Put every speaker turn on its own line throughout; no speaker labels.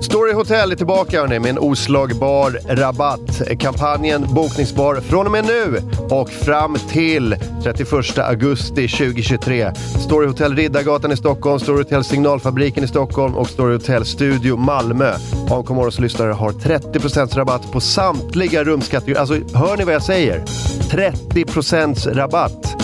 Story Hotel är tillbaka hörni, med en oslagbar rabatt. Kampanjen bokningsbar från och med nu och fram till 31 augusti 2023. Story Hotel Riddargatan i Stockholm, Story Hotel Signalfabriken i Stockholm och Story Hotel Studio Malmö. AMK Morgons lyssnare har 30% rabatt på samtliga rumskategorier. Alltså, hör ni vad jag säger? 30% rabatt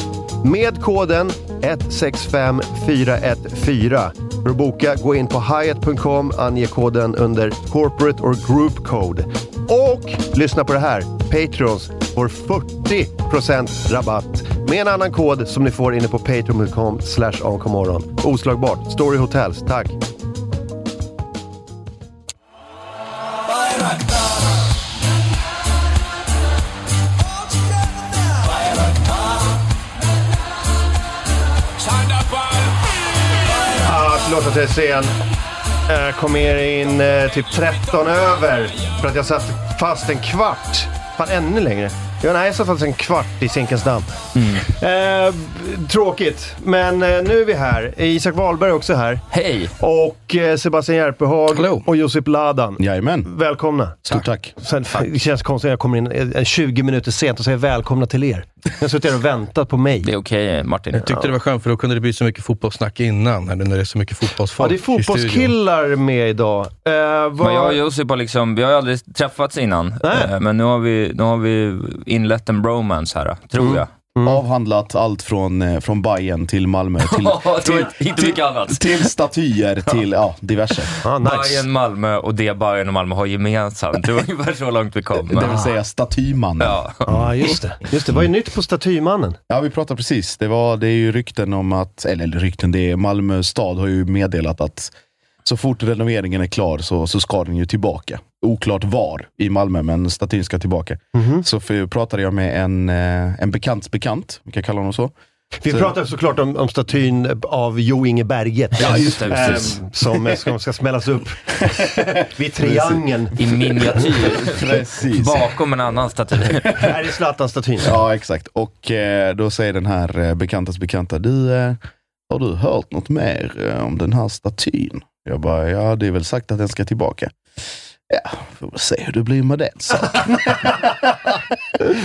med koden 165414. För att boka, gå in på hyatt.com, ange koden under corporate or group code. Och lyssna på det här, Patrons får 40% rabatt med en annan kod som ni får inne på patreon.com slash onkomorgon. Oslagbart, Story Hotels, tack! Ah, förlåt att jag är sen. Jag kom mer in eh, typ 13 över för att jag satt fast en kvart. Fan, ännu längre. Ja, nej, jag satt fast en kvart i zinkens damm.
Mm.
Eh, tråkigt, men eh, nu är vi här. Isak Wahlberg är också här.
Hej!
Och eh, Sebastian Järpehag
Hallå.
och Josip Ladan.
Mm.
Jajamän.
Välkomna.
Stort tack.
Sen, det känns konstigt att jag kommer in eh, eh, 20 minuter sent och säger välkomna till er. Ni har suttit här och väntat på mig.
Det är okej eh, Martin.
Jag tyckte det var skönt för då kunde det bli så mycket fotbollssnack innan, eller när det är så mycket
Ja,
fotbollsfolk
det är fotbollskillar med idag. Eh, vad-
Men jag och Josip har liksom, vi har ju aldrig träffats innan,
Nej.
Eh, men nu har, vi, nu har vi inlett en bromance här, eh, tror jag.
Avhandlat allt från, eh, från Bayern till Malmö. Till,
till, inte mycket annat.
till statyer, till ja, diverse.
ah, nice.
Bayern Malmö och det Bayern och Malmö har gemensamt. Det var ungefär så långt vi kom.
Det vill säga statyman. Ja.
Ja.
Ja, just det. Just det. Vad är nytt på Statymannen?
vi pratade precis. Det, var, det är ju rykten om att, eller eller rykten, det är Malmö stad har ju meddelat att så fort renoveringen är klar så, så ska den ju tillbaka. Oklart var i Malmö, men statyn ska tillbaka.
Mhm.
Så för, pratade jag med en, eh, en bekants bekant, vi kan kalla honom så.
Vi
Så-
pratar såklart om, om statyn av Jo Inge Berget.
Ja, just det,
Ehm,
precis.
Som ska, ska smällas upp vid triangeln.
I miniatyr,
Precis.
bakom en annan staty.
Här är Zlatan-statyn.
Ja, exakt. Och eh, då säger den här eh, bekantas bekanta, du, eh, har du hört något mer eh, om den här statyn? Jag bara, ja det är väl sagt att den ska tillbaka. Ja, får väl se hur det blir med den saken.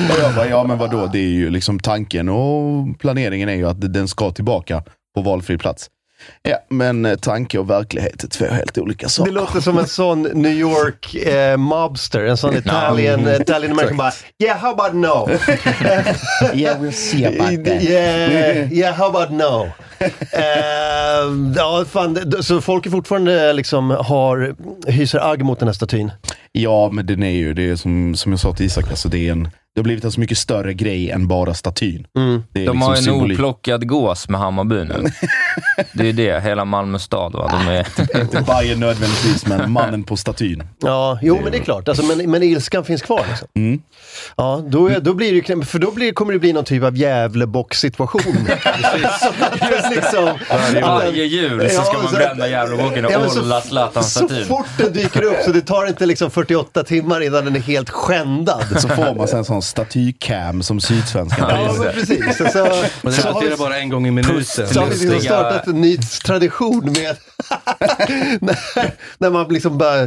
och jag bara, ja men vadå, det är ju liksom tanken och planeringen är ju att den ska tillbaka på valfri plats. Ja, men eh, tanke och verklighet är två helt olika
Det
saker.
låter som en sån New York eh, mobster, en sån Italian,
Mm.
Italian American bara Yeah, how about no?
Yeah, we'll see
yeah, yeah, how about no? Ehm, ja, fan, det- så folk är fortfarande liksom har, hyser agg mot den här statyn?
Ja, men den är ju, det är som, som jag sa till Isak, alltså det, är en, det har blivit en så mycket större grej än bara statyn.
Mm.
Det är
De
liksom
har en
symbolik.
oplockad gås med Hammarby nu. Det är det, hela Malmö stad. Va? De är...
Inte Bajen nödvändigtvis, men mannen på statyn.
Ja, jo men det är klart. Alltså, men, men ilskan finns kvar. Liksom. Ja, då, är, då blir det, ju knä- för då blir, kommer det bli någon typ av Gävlebock-situation. Just liksom, att den-
Varje jul så ska
Ja,
man
så-
bränna Gävlebocken och
Ja, men så-
olla
så
Zlatan-statyn.
fort den dyker upp, så det tar inte liksom 48 timmar innan den är helt skändad.
Så får man sen en sån statycam som Sydsvenskan har.
Ja, men precis. Så, så,
Men det
så har vi-
roterar bara en gång i minuten.
så har vi liksom
lustiga-
startat en ny tradition med när, när man liksom bara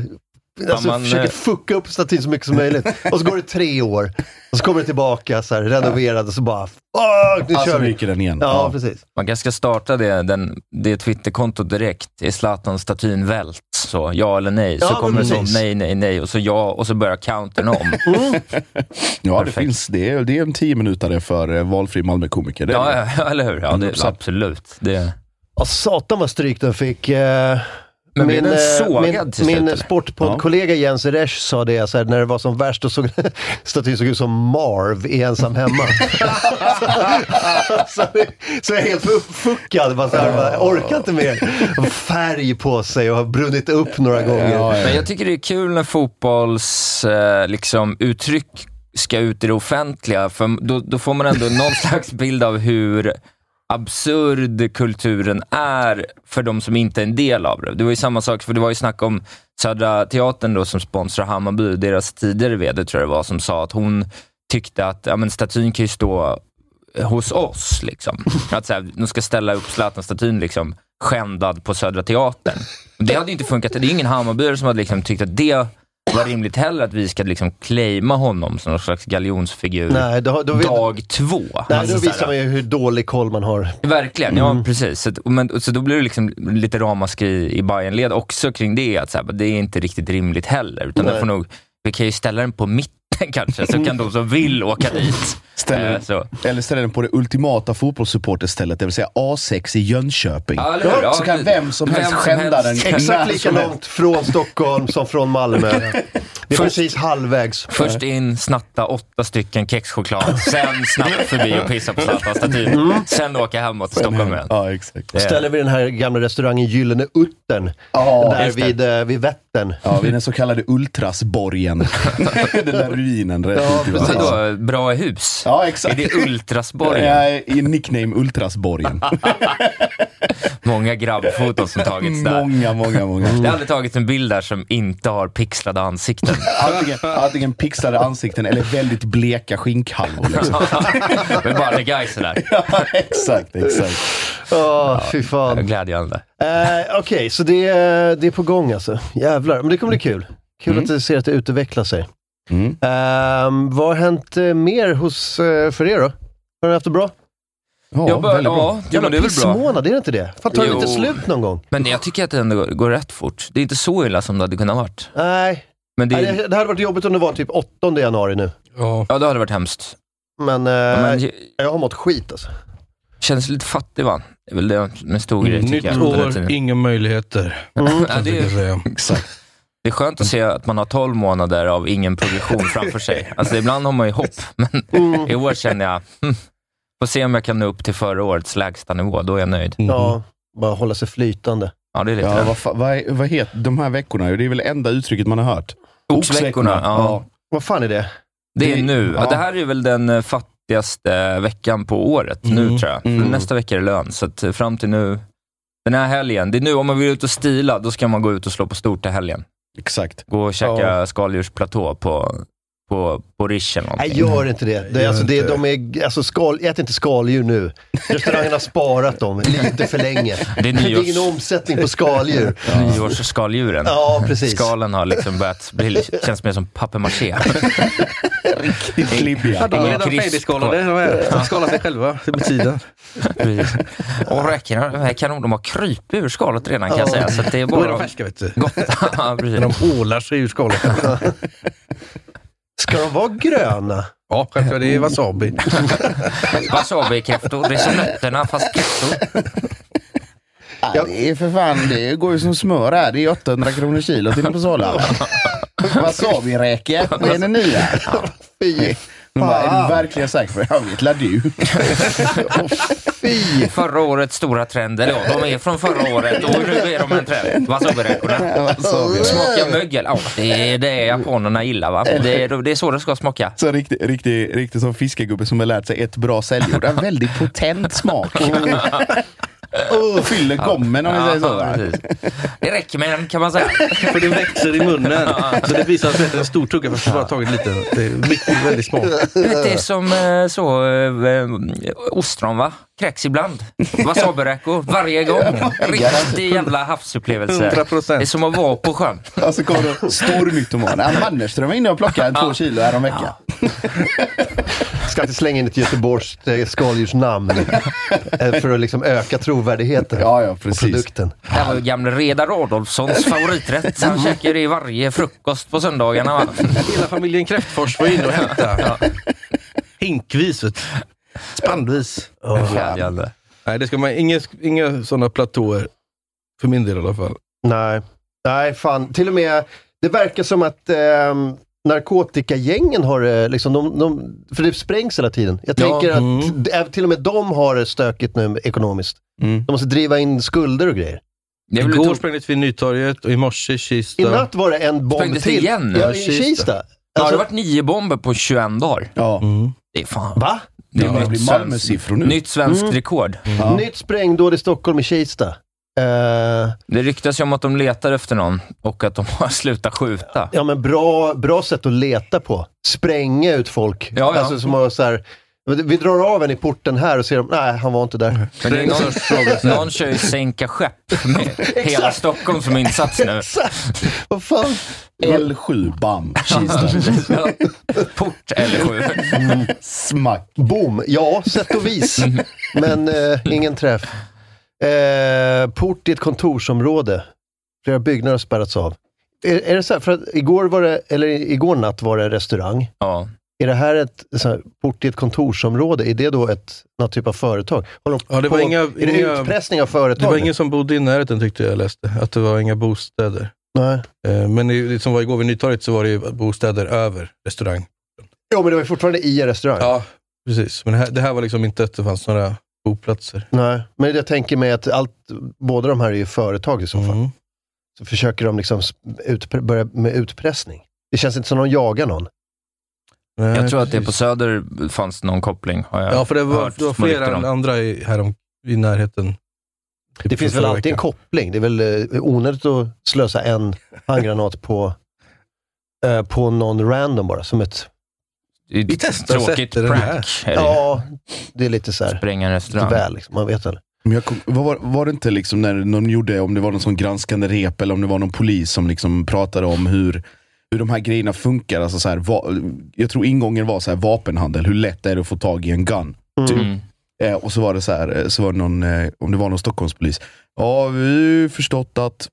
alltså,
man,
försöker
eh,
fucka upp statyn så mycket som möjligt. Och så går det tre år, och så kommer det tillbaka så här, renoverad och så bara, fuck, nu
Alltså
kör vi.
ryker den igen.
Ja, precis.
Man kanske ska starta det, den, det Twitterkontot direkt. Är Zlatan-statyn vält? Så, ja eller nej? Så
Ja, men
kommer det så,
precis. Mm.
nej, nej, nej. Och så ja, och så börjar countern om.
ja det
Perfekt.
finns. Det är, det är en tio minutare för eh, valfri Malmökomiker. Det är det.
ja, ja, eller hur? Ja, det,
100%.
absolut. Det,
Ja, satan vad stryk den fick. Eh,
Men blev den
eh,
sågad
min,
till slut,
min
eller?
sportpoddkollega Jens Resch sa det, så här, när det var som värst, då såg statyn såg ut som Marv i Ensam Hemma. så, så jag är helt uppfuckad. Bara så här, bara, jag orkar inte mer. Färg på sig och har brunnit upp några gånger.
Ja, ja.
Men jag tycker det är kul när fotbolls eh, liksom, uttryck ska ut i det offentliga, för då, då får man ändå någon slags bild av hur absurd kulturen är för de som inte är en del av det. Det var ju samma sak, för det var ju snack om Södra Teatern då, som sponsrar Hammarby, deras tidigare VD tror jag det var, som sa att hon tyckte att ja, men statyn kan ju stå hos oss. Liksom. Att så här, de ska ställa upp Zlatan-statyn liksom, skändad på Södra Teatern. Det hade ju inte funkat. Det är ingen Hammarbyare som hade liksom, tyckt att det var rimligt heller, att vi ska liksom, claima honom som någon slags galjonsfigur
Nej, då, då, vet,
dag två.
nej,
Alltså,
då
så här,
visar Mm. man ju hur dålig koll man har.
Verkligen, ja precis. Så, att- men, så då blir det liksom lite ramaskri i Bayernled också kring det, att så här, det är inte riktigt rimligt heller. Utan det får nog, vi kan ju ställa den på mitten kanske, så kan de som vill åka dit.
Ställer-
Eh, så.
Eller ställer den på det ultimata fotbollssupporterstället, det vill säga A6 i Jönköping.
Ja, eller hur? Ja,
så kan vem som helst
vem som
skända
helst.
den.
Exakt
när
lika
som helst.
långt från Stockholm som från Malmö. Det är precis halvvägs.
Först in, snatta åtta stycken kexchoklad, sen snabbt förbi och pissa på Zlatan-statyn.
Mm.
Sen åka hemåt till Stockholm igen.
Ja, exakt.
Det-
Ställer vi den här gamla restaurangen Gyllene Uttern,
Ja,
där
just det.
vid, eh, vid Vättern.
Ja, vid den så kallade ultrasborgen. den där ruinen. rätt
Ja,
ut i
precis.
Vadstena.
Vadå, bra hus?
Ja,
Är
exakt.
det Ultrasborgen?
Ja, I nickname Ultrasborgen.
Många grabbfoton som tagits där.
många, många, många.
Det har aldrig tagits en bild där som inte har pixlade ansikten.
Antingen, antingen pixlade ansikten eller väldigt bleka skinkhalvor. Liksom.
Med bara guys sådär.
Ja, exakt, exakt.
Åh, fy fan.
Glädjande.
Eh, Okej, så det, är- det är på gång alltså. Jävlar. Men det kommer bli
Mm.
kul. Kul att du ser att det utvecklar sig.
Mm.
Ehm, vad har hänt eh, mer hos, eh, för er då? Har ni haft det bra?
Ja,
Jag bör-
väldigt bra.
ja, jo, men det är väl bra.
pissmånad, är det inte det? Fan, tar det
Jo.
inte slut någon gång?
Men jag tycker att det ändå går rätt fort. Det är inte så illa som det hade kunnat varit.
Nej,
Men
det,
det,
det, det hade varit jobbigt om det var typ 8 januari nu.
Ja,
ja, det hade varit hemskt.
Men, eh,
Men Mm. jag
jag har mått skit alltså.
känns lite fattig va? Det är väl det som är en stor grej tycker
Mm, nytt
jag. under den
år,
tiden.
inga möjligheter.
Ja, det
brukar jag
är
säga.
Exakt.
Det är skönt att se att man har 12 månader av ingen progression framför sig. Alltså ibland har man ju hopp, men i år känner jag, hmm, får se om jag kan nå upp till förra årets lägsta nivå, då är jag nöjd.
Mhm.
Ja, bara hålla sig flytande.
Ja, det är lite
Ja,
det.
vad, fa- vad, är- vad heter de här veckorna? Det är väl enda uttrycket man har hört.
Oxveckorna, ja.
Vad fan är det?
Det är
Det-
nu. Ja.
ja.
Det här är väl den eh, fattigaste eh, veckan på året nu
Mm.
tror jag. För
Mm.
Nästa vecka är det lön, så att eh, fram till nu, den här helgen, det är nu om man vill ut och stila, då ska man gå ut och slå på stort till helgen.
Exakt.
Gå och käka skaldjursplatå på, på, på Riche
Nej,
eller någonting.
gör inte det. det, är
Gör
alltså, det
inte
de är, alltså, skal, ät inte skaldjur nu. Restaurangen har sparat dem lite för länge.
Det är
Det är
nyårs,
ingen omsättning på skaldjur.
nyårsskaldjuren.
Ja, precis.
Skalen har liksom börjat bli, känns mer som papier-maché.
Riktigt klibbiga.
De är redan
Krisp-
färdigskalade. De är- De skalar sig själva med tiden.
Och räkorna, de här kanon, de har krypit ur skalet redan kan jag säga. Så att det är
Då är de
bara...
färska vet du.
Gott. Ja, precis.
Men de ålar sig ur skalet.
Ska de vara gröna?
Ja, självklart. Det är wasabi.
Wasabi-kräftor, det är som nötterna fast kräftor.
Ja, det är för fan, det går ju som smör här. Det är 800 kronor kilo till på Sala. Wasabi-räkor, vad är det nya?
Fy
De bara, är du verkligen säker på det? Ja, vet la du.
Förra årets stora trend, eller ja, de är från förra året och nu är de en trend. Wasabi-räkorna.
Wasabi.
Smaka mögel, ja det är det japanerna gillar va. Det är, det är så det ska smaka.
Så riktigt, riktigt, Mm. riktigt som fiskegubbe som har lärt sig ett bra säljord. En väldigt potent smak. Oh, fyller gommen om vi säger så.
Ja,
va?
precis. Det räcker med en kan man säga.
För det växer i munnen. Så det visar sig att det är en stor tugga fast jag bara tagit lite. Det är mycket, väldigt små.
Du vet, det är som eh, så, eh, ostron va? Kräks ibland. Wasabiräkor varje gång. Riktig jävla havsupplevelse.
100%.
Det är som att vara på sjön.
Alltså kommer det stormytoman. Han Mannerström var inne och plockade två kilo häromveckan.
Ska inte slänga in ett Göteborgs eh, skaldjursnamn eh, för att liksom öka trovärdigheten
Ja, ja,
på
precis.
produkten.
Det här var ju gamle Redar Adolfssons favoriträtt. Han käkar det i varje frukost på söndagarna. Va?
Hela familjen Kräftfors var inne och hämtade. Hinkvis, vet du. spannvis.
Glädjande.
Nej, det ska man, inga, inga sådana platåer. För min del i alla fall.
Nej. Nej, fan. Till och med, det verkar som att ehm, narkotikagängen har eh, liksom, de, de, för det sprängs hela tiden. Jag
Ja.
tänker att
Mm.
d- även till och med de har det stökigt nu ekonomiskt.
Mm.
De måste driva in skulder och grejer.
Det är väl
Igår
lite
sprängdes vi i Nytorget och i morse i
I
Kista.
natt var det en bomb
Sprängdes det
till.
igen?
Ja,
Ja,
i
Kista.
Kista.
Ja, det
Alltså,
har varit nio bomber på 21 dagar.
Ja.
Mm.
Det är fan.
Va?
Det är
Det börjar
nytt
bli
svenskt-
Malmö-siffror nu.
Nytt svenskt
Mm.
rekord.
Ja.
Nytt sprängdåd i Stockholm i Kista. Eh,
Det ryktas ju om att de letar efter någon och att de har slutat skjuta.
ja, men bra, bra sätt att leta på. Spränga ut folk.
Ja, ja.
Alltså, som har så här, vi drar av en i porten här och ser om, nej, han var inte där.
Men det är någon, någon kör ju sänka skepp med hela Stockholm som insats
Eh.
nu.
Exakt! Vad fan?
L7, bam, Kista.
Ja. Port eller sju.
Smack.
Boom! Ja, sätt och vis. Men eh, ingen träff. Eh, port i ett kontorsområde. Flera byggnader har spärrats av. Är, är det så här, för att igår var det, eller igår natt var det en restaurang.
Ja.
Är det här ett så här, port i ett kontorsområde? Är det då ett, någon typ av företag? Håller de
Ja, det
på,
var inga-
är det
inga-
utpressning av
Det
företag?
var ingen som bodde i närheten tyckte jag läste. Att det var inga bostäder.
Nej.
Eh, Men i- det som var igår vid Nytorget så var det ju bostäder över restaurang.
Jo, men det var ju fortfarande i en restaurang.
Ja, precis. Men det här, det här var liksom inte att det fanns några boplatser.
Nej, men jag tänker mig att allt, båda de här är ju företag i så fall.
Mm.
så försöker de liksom sp- ut, börja med utpressning. Det känns inte som de jagar någon.
Nej,
Jag tror att det på
precis.
Söder fanns någon koppling. Har jag
Ja, för det var,
hört
det var
små rykten
flera
om.
andra i, här om, i närheten. Typ
Det finns väl
förra
alltid en
veckan.
koppling. Det är väl eh, onödigt att slösa en handgranat på, eh, på någon random bara, som ett...
Det är
Vi
ett
testar och
Tråkigt
sätter den här.
prank. Ja.
Ja, det är lite så här.
Spränga en
Lite
restaurang.
väl, liksom. man vet väl.
Men jag kom, vad var, var det inte liksom när någon gjorde, om det var någon sån granskande rep eller om det var någon polis som liksom pratade om hur, hur de här grejerna funkar. Alltså så här, va, jag tror ingången var så här, vapenhandel, hur lätt är det att få tag i en gun? Typ.
Mm.
Eh, och så var det så här, eh, så var det någon, eh, om det var någon Stockholmspolis. Ja, vi har ju förstått att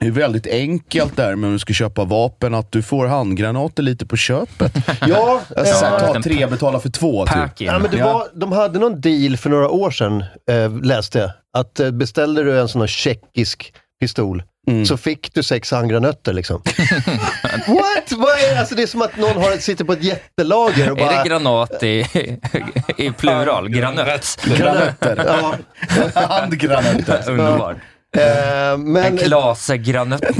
det är väldigt enkelt där med om du ska köpa vapen, att du får handgranater lite på köpet.
Ja,
Alltså, så här,
eh,
ta tre, betala för två. Typ.
Pack in.
ja men det
Ja.
var, de hade någon deal för några år sedan, eh, läste jag. Att eh, beställde du en sån här tjeckisk pistol,
Mm.
så fick du sex handgranötter liksom. What? Vad är det? Alltså, det är som att någon har, sitter på ett jättelager och bara...
Är det granat i, i plural? Granöt.
Granater.
Ja,
Handgranater.
Underbart.
eh, men,
En klase granötter.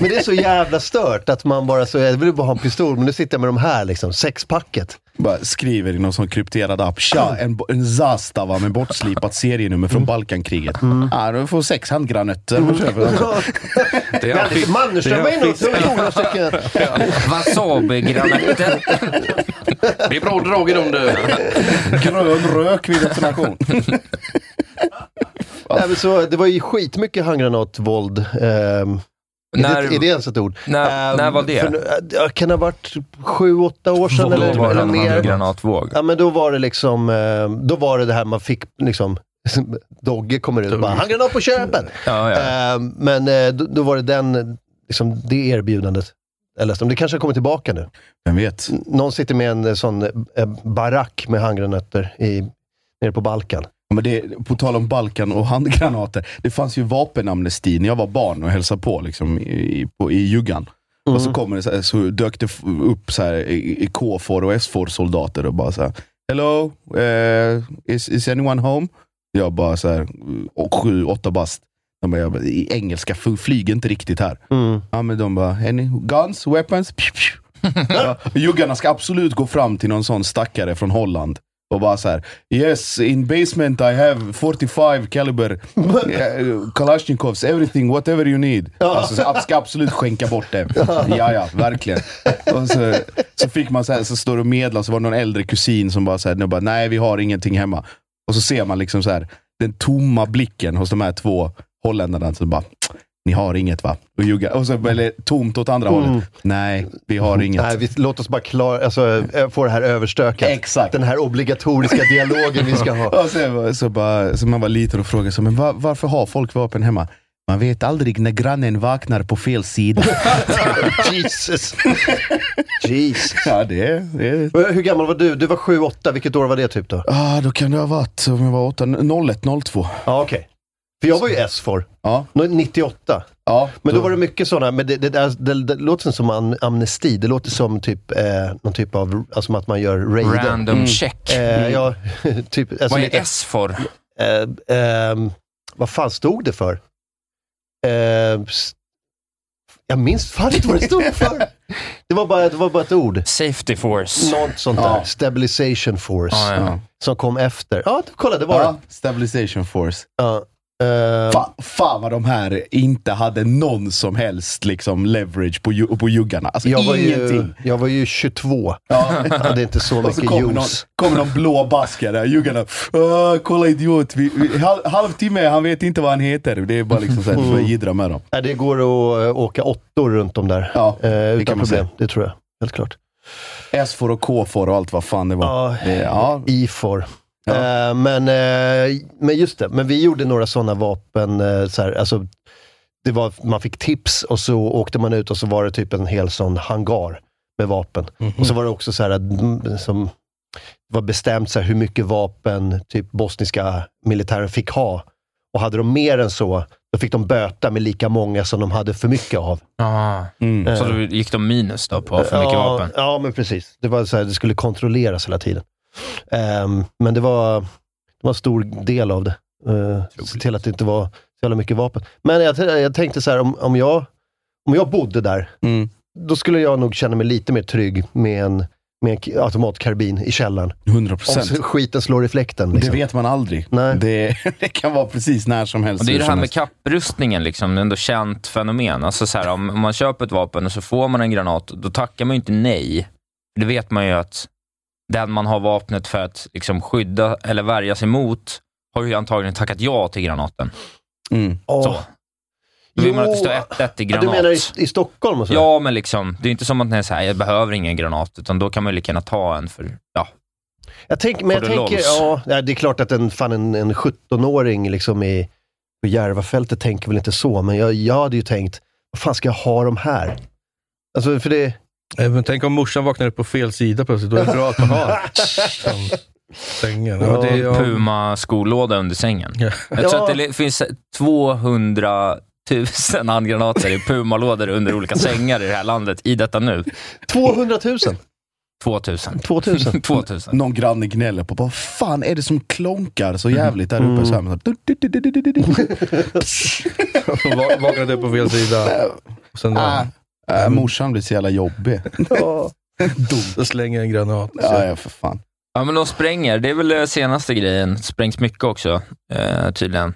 men det är så jävla stört att man bara så, jag vill bara ha en pistol, men nu sitter jag med de här liksom, sexpacket.
Bara skriver i någon sån krypterad app. Tja, en, bo- en Zastava med bortslipat serienummer från Balkankriget. Ja, du får sex handgranater. om du köper den.
Det är alltid-
Mannerström var inne och tog några stycken.
Wasabi-granötter.
Det är bra drag i dem du.
Grön rök vid detonation.
Nej, men så, det var ju skitmycket handgranatvåld. ehm, är, det, är det
När,
ens ett ord?
när,
Ehm,
när var det?
för nu- ja, kan det ha varit sju, åtta år sedan
Då
eller,
var det
eller
en
mer?
handgranatvåg.
Ja, men då var det liksom, eh, då var det det här man fick liksom, Dogge kommer ut och bara, handgranat på köpet!
Ja, ja.
Eh, men eh, då, då var det den, eh, liksom, det erbjudandet. Jag läste om. Det kanske har kommit tillbaka nu.
Vem vet?
N- Någon sitter med en eh, sån eh, barack med handgranater i, nere på Balkan.
Ja, Men det, på tal om Balkan och handgranater. Det fanns ju vapenamnesti när jag var barn och hälsade på liksom, i, i- på, i juggan. Och
Mm.
Mm.
så, kommer det, så, här, så dök det f- upp så här, i- i K-for och S-for-soldater och bara så här, Hello, eh, is, is anyone home? Jag bara så här, och sju, åtta bast. De bara, jag bara, I engelska f- flyger inte riktigt här.
Mm.
Ja, men de bara, any guns, weapons? Pju, pju. ja, juggarna ska absolut gå fram till någon sån stackare från Holland Och bara så här, yes, in basement I have 45 caliber eh, Kalashnikovs, everything, whatever you need. Alltså, så jag ska absolut skänka bort det. Ja, ja, verkligen. Och så, så fick man så här, så står det och medlar, så var det någon äldre kusin som bara så här, nu bara, nej vi har ingenting hemma. Och så ser man liksom så här, den tomma blicken hos de här två holländarna. Så bara, ni har inget va? Och, ljuga, och så, eller tomt åt andra hållet. Nej, vi har inget.
Nej, vi, låt oss bara klara, alltså, ö- få det här överstökat.
Exakt.
Den här obligatoriska dialogen vi ska ha.
Och så, så, bara, så man var liten och frågade så, men va- varför har folk vapen hemma? Man vet aldrig när grannen vaknar på fel sida.
Jesus. Jesus.
ja, det, det.
Hur gammal var du? Du var 7-8, vilket år var det typ då?
Ah, då kan det ha varit, om jag var 8, 01, 02.
Ja, okej. För jag var ju S4,
Ja,
Nå- 98.
ja,
Men då var det mycket sådana, men det, det, där- det, det låter som am, amnesti, det låter som typ, eh, någon typ av, alltså som att man gör raider.
Random check.
Eh, ja, typ, alltså
Vad är
lite-
S för?
Eh, ehm, vad fan stod det för? Eh, s- jag minns fan inte vad det stod för. Det var bara, det var bara ett ord.
Safety force.
Något sånt där.
Ja.
Stabilization force.
Ja, ja.
Ja.
Som kom efter. Ja, kolla det var
Ja,
det.
stabilization force.
Ja. Ehm,
Fa, fan vad de här inte hade någon som helst liksom, leverage på, ju, på juggarna. Alltså
jag, var
ingenting.
ju, jag var ju 22.
Ja.
Jag hade inte så
Och så
mycket
kommer någon,
juice.
kommer någon blå basker där, juggarna. "Åh, kolla idiot, vi, vi, halv, halvtimme, han vet inte vad han heter. Det är bara liksom såhär, du får jiddra med dem.
Nej, det går att eh, åka åttor runt om där.
Ja,
Eh,
kan
utan
man
problem, det tror jag. Helt klart.
s och k och allt vad fan det var.
Ja,
Det- Ja,
IFOR.
Ja.
Eh, men, eh, men just det, men vi gjorde några sådana vapen. Eh, så här, alltså, det var, man fick tips och så åkte man ut och så var det typ en hel sån hangar med vapen.
Mhm.
Och så var det också så här att mm, som, det var bestämt så här, hur mycket vapen typ bosniska militären fick ha. Och hade de mer än så, då fick de böta med lika många som de hade för mycket av.
Ah.
mm.
Så då gick de minus då på för mycket
Ehm. ja,
vapen?
Ja, men precis. Det, var så här, det skulle kontrolleras hela tiden. Ehm, men det var, det var en stor del av det. Uh, se till att det inte var så jävla mycket vapen. Men jag, t- jag tänkte så här, om, om, jag, om jag bodde där,
Mm.
då skulle jag nog känna mig lite mer trygg med en, med en k- automatkarbin i källaren.
100
Om
procent.
s- skiten slår i fläkten.
Det
Liksom.
vet man aldrig.
Nej.
Det, det kan vara precis när som helst.
Och det är ju
hur
det här
som
med
helst.
kapprustningen, liksom, det är ändå känt fenomen. Alltså så här, om, om man köper ett vapen och så får man en granat, då tackar man ju inte nej. Det vet man ju att den man har vapnet för att liksom, skydda eller värja sig mot har ju antagligen tackat ja till granaten.
Mm.
Åh.
Så. Då vill man att det står
Jo.
1-1 i
Ja,
granat.
du menar i, i Stockholm och så?
Ja, men liksom, det är inte som att nej, så här, jag behöver ingen granat, utan då kan man ju lika gärna ta en för... Ja.
Jag tänk, men jag
Får du
tänker,
lobs?
ja, nej, det är klart att en, fan en, en 17-åring liksom i, på Järvafältet tänker väl inte så, men jag, jag hade ju tänkt, vad fan ska jag ha de här? Alltså, för det...
Eh, Men tänk om morsan vaknar upp på fel sida plötsligt. Då är det bra att man har den sängen. Ja, det, ja.
Puma-skolåda under sängen.
Ja.
Jag tror
Ja.
att det li- finns 200 000 handgranater i Puma-lådor under olika sängar i det här landet i detta nu.
200 000!
2000.
2000.
2000.
Någon granne gnäller på, vad fan är det som klonkar så
Mm.
jävligt där uppe? Så här, men så, du, du, du, du, du, du, du.
Hon va- vaknade upp på fel sida. Och sen
Ah, äh, morsan blir så jävla jobbig.
Ja.
då slänger jag en granat.
Ja, ja, för fan.
Ja, men de spränger. Det är väl det senaste grejen. Sprängs mycket också, eh, tydligen.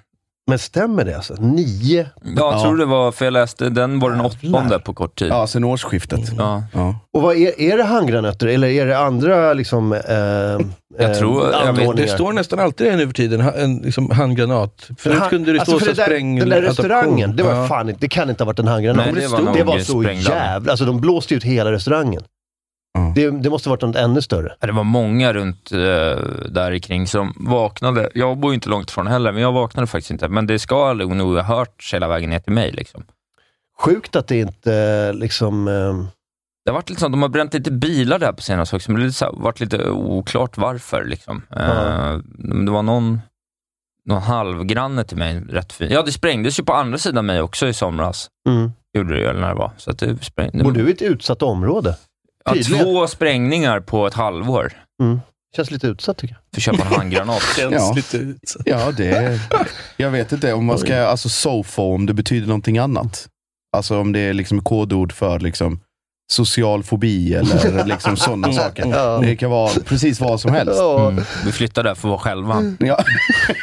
Men stämmer det alltså? Nio?
Ja, jag
Ja.
tror det var, för jag läste, den var den åttonde på kort tid.
Ja, sen årsskiftet.
Ja.
Ja.
Och vad är, är det handgranater eller är det andra liksom, eh,
Jag tror- jag vet-
Det står nästan alltid det nu för tiden, ha- en liksom handgranat. Förut kunde det stå
alltså för
så
det
här
där,
spräng...
Den där
adaption.
restaurangen, det, var
Ja.
fan inte, det kan inte ha varit en handgranat.
Nej, det var
det
nog
var så
sprängladdning.
jävla... Alltså de blåste ut hela restaurangen.
Ja.
Det, det måste ha varit något ännu större.
Ja, Det var många runt eh, där kring som vaknade. Jag bor ju inte långt ifrån heller, men jag vaknade faktiskt inte. Men det ska nog ha hörts hela vägen ner till mig. Liksom.
Sjukt att det inte eh, liksom... ehm,
Det har varit liksom, de har bränt lite bilar där på senaste också, men det har lite så här- varit lite oklart varför. Liksom.
Ja.
Eh, men det var någon, någon halvgranne till mig, rätt fin. Ja, det sprängdes ju på andra sidan mig också i somras.
Mm.
Gjorde det ju, eller när det var. Så att det sprängdes.
Bor du i ett utsatt område?
ja,
tydligen?
två sprängningar på ett halvår
Känns lite utsatt tycker jag.
för att köpa en handgranat.
Ja.
lite utsatt.
Ja, det är, Jag vet inte om man ska, alltså sofo, om det betyder någonting annat. Alltså om det är liksom kodord för liksom social fobi eller liksom sådana saker. Det kan vara precis vad som helst.
Ja.
Vi flyttar där för att vara själva.
Ja.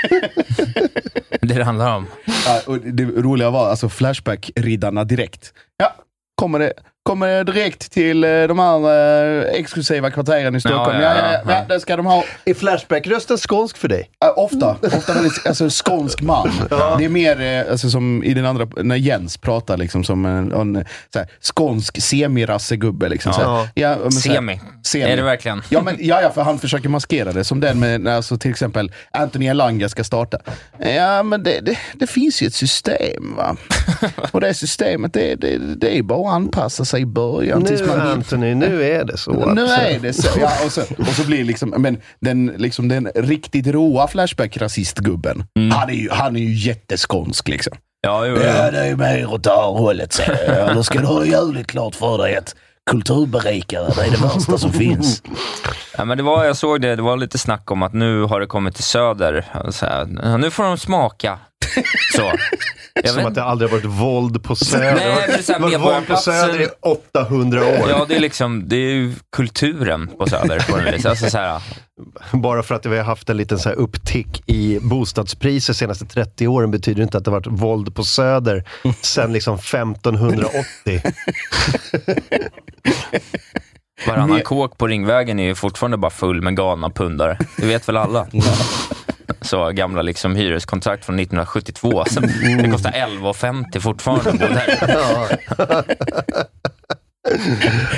Det är det handlar om.
Ja, och det roliga var alltså Flashback-riddarna direkt. Ja, kommer det, kommer det direkt till eh, de här eh, exklusiva kvarteren i Stockholm. Ja, ja, ja, ja,
ja.
det ska de ha.
Är Flashback-rösten skånsk för dig?
Eh, Ofta. ofta väldigt, alltså, skånsk man. Det är mer eh, alltså, som i den andra, när Jens pratar, liksom, som en, en så här, skånsk semi-rassegubbe. Liksom, så här. ja, men så här-
Semi.
Semi.
Är det verkligen?
Ja, men, ja, ja, för han försöker maskera det. Som den med, när alltså, till exempel Anthony Elanga ska starta. Ja, men det, det, det finns ju ett system. va Och det systemet, det, det, det är bara att anpassa sig i början. tills
Nu
man
Anthony, nu är det så. att-
nu är det så. Ja, och, så och så blir liksom, men den, liksom den riktigt råa Flashback-rasistgubben, han, är ju, han är ju jätteskånsk liksom.
Ja, jo,
Mm. Ja,
jo.
det är ju mer åt det här hållet. så. Ja, Då ska du ha jävligt klart för dig att kulturberikare, det är det värsta som finns.
Ja, men det var, jag såg det, det var lite snack om att nu har det kommit till söder. Så här, nu får de smaka. Så. Jag
Som
vet-
att det aldrig har varit våld på Söder.
Nej, det är så här,
Det har varit våld på
Medborgarplatsen-
Söder i 800 år.
Ja, det är liksom, det är ju kulturen på Söder på något vis. Alltså så här,
Bara för att vi har haft en liten så här upptick i bostadspriser de senaste 30 åren betyder inte att det har varit våld på Söder sedan liksom 1580.
varannan kåk på Ringvägen är ju fortfarande bara full med galna pundare. Det vet väl alla. Så gamla liksom hyreskontrakt från 1972. Sen, det kostar 11,50 fortfarande att bo där.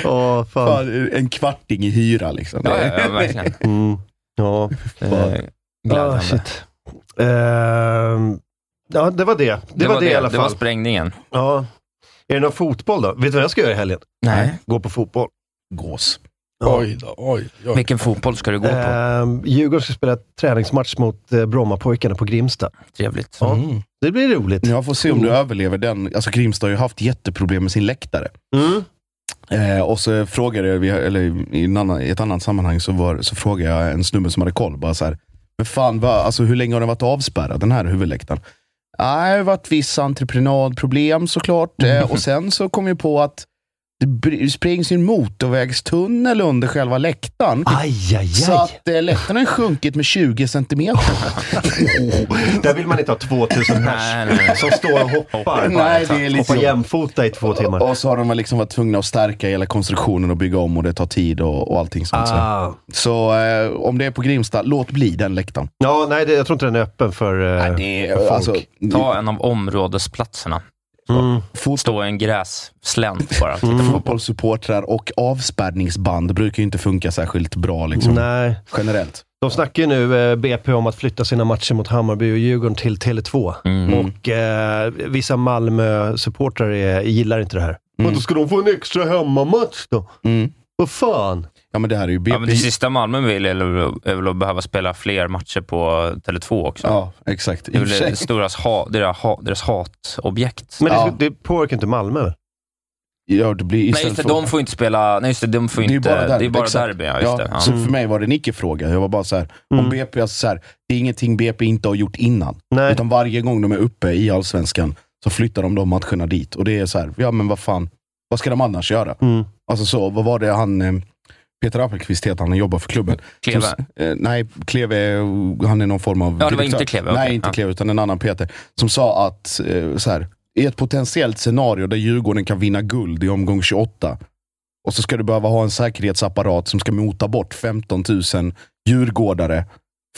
Ja. Åh, fan.
Fan, en kvarting i hyra liksom.
Ja, ja, ja, verkligen.
Mm. Ja.
Eh,
Ja,
Ah,
Glädjande.
shit. Ehm, ja, det var det. Det, var, det, i alla
Det var
fall.
sprängningen.
ja. Är det någon fotboll då? Vet du vad jag ska göra i helgen?
Nej.
Gå på fotboll.
Gås.
Oj då, oj, oj.
Vilken fotboll ska du gå
Eh,
på?
Ehm, Djurgården ska spela träningsmatch mot eh, Brommapojkarna på Grimsta.
Trevligt.
Mm.
Det blir roligt.
Jag får se om du överlever den. Alltså Grimstad har ju haft jätteproblem med sin läktare.
Mm.
Eh, och så frågade jag, vi- eller i, en annan, i ett annat sammanhang, så, var, så frågade jag en snubbe som hade koll. Bara så här, men fan, vad, alltså, hur länge har den varit avspärrad, den här huvudläktaren? Nej, det har varit vissa entreprenadproblem såklart. Eh, och sen så kom jag på att det br- sprängs ju en motorvägstunnel under själva läktaren.
Aj, aj,
Så
aj.
att eh, läktaren har sjunkit med 20 centimeter.
Där vill man inte ha 2000 pers
Nej, nej, nej.
som står och hoppar.
Nej, det är
Hoppar
liksom-
jämfota i två timmar.
Och så har de väl liksom varit tvungna att stärka hela konstruktionen och bygga om och det tar tid och, och allting sånt. så.
Ah.
Så eh, om det är på Grimsta, låt bli den läktaren.
Ja, nej, det, jag tror inte den är öppen för... eh,
Nej, det
för folk.
är, alltså,
Ta en av områdesplatserna.
mm.
fot-
Stå i en grässlänt bara.
Mm.
Titta på
fotbollssupportrar och avspärrningsband brukar ju inte funka särskilt bra liksom,
Nej.
generellt.
De snackar ju nu, eh, BP, om att flytta sina matcher mot Hammarby och Djurgården till Tele2.
Mm.
Mm.
Och eh, vissa Malmö-supportrar är- gillar inte det här. Men då ska de få en extra hemmamatch då?
Mm.
Vad fan?
Ja, men det här är ju BP.
Ja, men det sista Malmö vill är väl- är väl att behöva spela fler matcher på Tele2 också.
Ja, exakt. I
Det
och för
är väl
sig.
deras, ha, deras, ha, deras hatobjekt.
Men det,
Ja.
det påverkar inte Malmö.
Ja, det blir
Nej,
istället
just det,
för-
de får inte spela... Nej, just det, de får
Det är
inte...
bara derby,
det är bara
exakt.
derby, ja, just det. Ja. Mm.
Så för mig var det en icke-fråga. Jag var bara så här, om BP, alltså så här, det är ingenting BP inte har gjort innan.
Nej.
Utan varje gång de är uppe i allsvenskan så flyttar de de matcherna dit. Och det är så här, ja men vad fan, vad ska de annars göra?
Mm.
Alltså så, vad var det han, eh, Peter Appelqvist heter han, han jobbar för klubben.
Kleve.
Som, s- eh, nej, Kleve, eh, han är någon form av
Ja, det var
direktör.
inte Kleve,
Nej,
okej.
inte
Ja.
Kleve, utan en annan Peter. Som sa att, eh, så här, i ett potentiellt scenario där Djurgården kan vinna guld i omgång 28, och så ska du behöva ha en säkerhetsapparat som ska mota bort 15 000 djurgårdare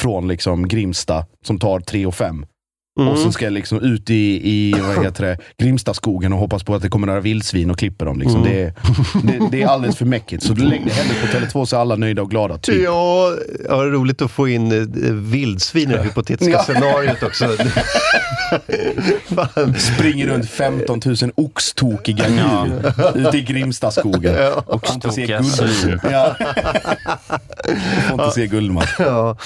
från liksom Grimsta, som tar 3 och 5.
mm.
Och sen ska jag liksom ut i, i vad heter det, Grimstaskogen och hoppas på att det kommer några vildsvin och klipper dem. Liksom.
Mm.
Det, är- det, det är alldeles för mäckigt. Så lägg det hellre på Tele2 så är alla nöjda och glada. Typ.
Ja, ja, det är roligt att få in eh, vildsvin i det hypotetiska
Ja.
scenariot också. Fan.
Springer runt 15 000 oxtokiga djur ute i Grimstaskogen. Och får inte se
Oxtokiga
guld.
svin.
Ja. Får inte se Guldman.
Ja.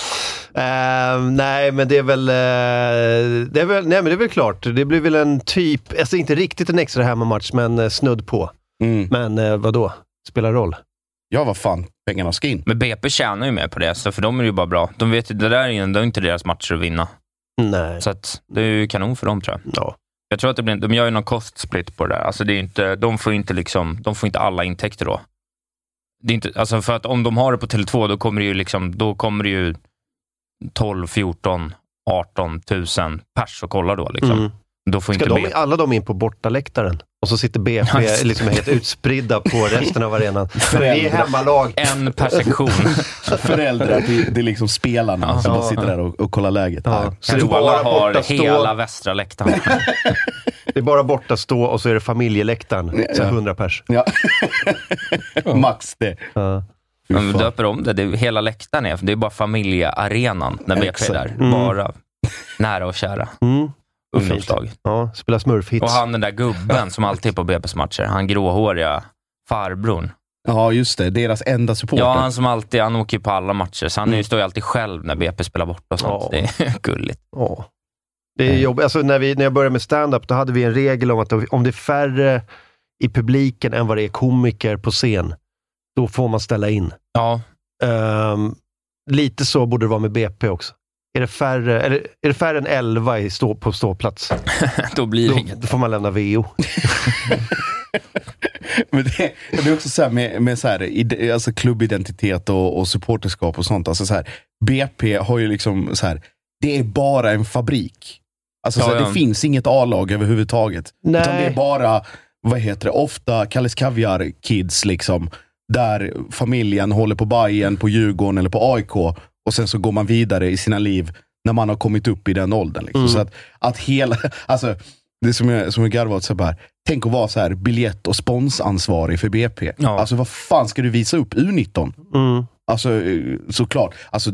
Ehm, nej, men det är väl... eh, det är väl nej, men det är väl klart. Det blir väl en typ... Alltså inte riktigt en extra hemmamatch, men eh, snudd på.
Mm.
Men eh, vadå? Spelar roll.
Ja, vad fan. Pengarna ska in.
Men BP tjänar ju mer på det, så för dem är det ju bara bra. De vet ju, det där är ju det är inte deras matcher att vinna.
Nej.
Så att, det är ju kanon för dem, tror jag.
Ja.
Jag tror att det blir, de gör ju någon kostsplit på det där. Alltså det är ju inte, de, får ju inte liksom, de får inte alla intäkter då. Det är inte, alltså för att om de har det på Tele2, då kommer det ju, liksom, då kommer det ju 12, 14, 18 000 pers och kolla då. Liksom.
Mm.
Då får
Ska
inte
de,
B-
alla de in på bortaläktaren? Och så sitter BP
Ja, just det.
liksom helt utspridda på resten av arenan. Men vi är hemmalag.
en per sektion.
Föräldrar till, till liksom spelarna
Ja.
som bara
Ja.
sitter där och, och kollar läget.
Ja. Så det är
Kanske
bara
alla har
bortastå-
hela västra läktaren.
Det är bara borta stå och så är det familjeläktaren. Så
Ja.
100 pers.
Ja. Max det.
Ja.
Fy
Men vi
fan.
döper om det. det är, hela läktaren är, det är bara familjearenan när BP är där.
Exakt.
Bara nära och kära.
Mm. Och fint.
Ungdomslag.
Ja, spela smurfhits.
Och han den där gubben som alltid är på BP's matcher, han gråhåriga farbrorn.
Ja, just det. Deras enda supporter.
Ja, han som alltid, han åker ju på alla matcher, så han är ju- står ju alltid själv när BP spelar bort och sånt.
Mm. Ja.
Det är gulligt.
Ja. Det är jobbigt. Alltså, när, vi, när jag började med stand-up, då hade vi en regel om att om det är färre i publiken än vad det är komiker på scen, då får man ställa in.
Ja,
Ehm, lite så borde det vara med BP också. Är det färre, eller, är det färre än 11 i stå, på ståplats,
då blir det
då,
inget.
då får man lämna VO.
Men det, det är också så här med, med så här, ide- alltså klubbidentitet och, och supporterskap och sånt. Alltså så här, BP har ju liksom så här, det är bara en fabrik. Alltså så
Ja,
här,
ja.
Det finns inget A-lag överhuvudtaget. Utan det är
Nej,
bara, vad heter det, ofta Kalles Kaviar-kids liksom. Där familjen håller på Bayern, på Djurgården eller på AIK. Och sen så går man vidare i sina liv när man har kommit upp i den åldern. Liksom.
Mm.
Så att, att hela, alltså, det är som jag, som jag garvar åt, så här, tänk att vara så här, biljett och sponsansvarig för BP.
Ja.
Alltså vad fan ska du visa upp U19?
mm,
Alltså eh, såklart, alltså,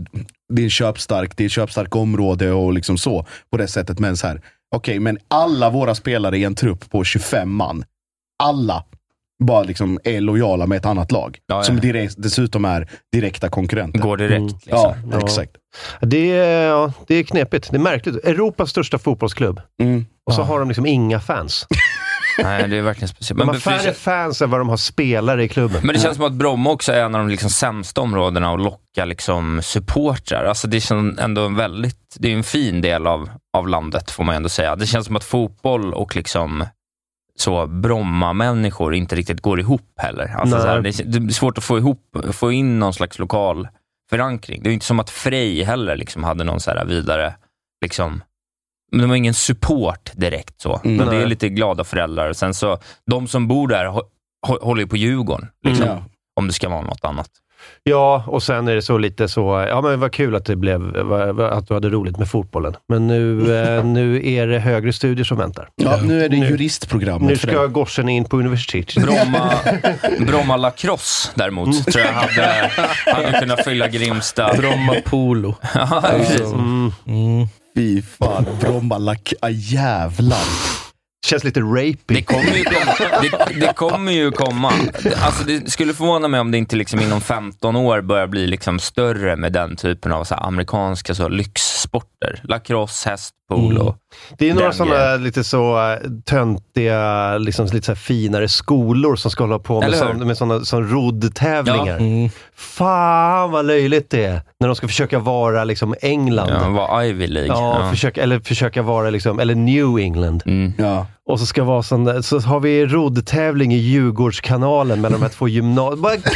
det är en köpstark, det är ett köpstarkt område och liksom så på det sättet. Men så här, okej, men alla våra spelare i en trupp på 25 man, alla bara liksom är lojala med ett annat lag.
Ja, ja.
Som direkt, dessutom är direkta konkurrenter.
Går direkt.
Mm.
Liksom.
ja,
Ja.
exakt.
det, är, ja, det är knepigt. Det är märkligt. Europas största fotbollsklubb.
Mm.
Och så
Ja.
har de liksom inga fans.
Nej, det är verkligen speciellt.
De har
Men, för det
färre
kän-
fans än vad de har spelare i klubben.
men det känns som att Bromma också är en av de liksom sämsta områdena att locka liksom supportrar. Alltså det känns ändå en väldigt, det är en fin del av, av landet får man ändå säga. Det känns som att fotboll och liksom så Bromma-människor inte riktigt går ihop heller. Alltså
Nej.
så här, det, är, det är svårt att få, ihop, få in någon slags lokal förankring. Det är inte som att Frej heller liksom hade någon så här vidare, liksom, men de har ingen support direkt. så.
Mm.
Men det
Nej.
är lite glada föräldrar. Och sen så, de som bor där hå- hå- håller ju på Djurgården, liksom,
Ja.
om det ska vara något annat.
Ja, och sen är det så lite så, ja men vad kul att det blev, va- va- att du hade roligt med fotbollen. Men nu, eh, nu är det högre studier som väntar.
Ja, nu är det
Nu-
juristprogrammet
Nu
för dig.
ska Gorsen in på universitet.
Bromma, Bromma lacrosse däremot, tror jag hade, hade kunnat fylla Grimsta.
Bromma Polo.
Ja, precis.
Mm.
Mm.
Fy fan, Bromma lack... Ah, jävlar.
Känns lite
Det
rapey.
kommer ju komma. Det, det kommer ju komma. Alltså det skulle förvåna mig om det inte liksom inom 15 år börjar bli liksom större med den typen av så här amerikanska så lyxsporter. Lacrosse, häst, polo.
Det är några
Den
sådana lite så eh, töntiga, liksom lite så här finare skolor som ska hålla på med,
Eller hur?
sån, med sådana som roddtävlingar.
Mm.
Fan vad löjligt det är när de ska försöka vara liksom England.
Ja,
Ja.
var Ivy League. Ja.
Försöka, eller försöka vara liksom, eller New England.
Mm.
Ja.
Och så ska vara sån där, så har vi roddtävling i Djurgårdskanalen mellan de här två gymnasierna. Bara get the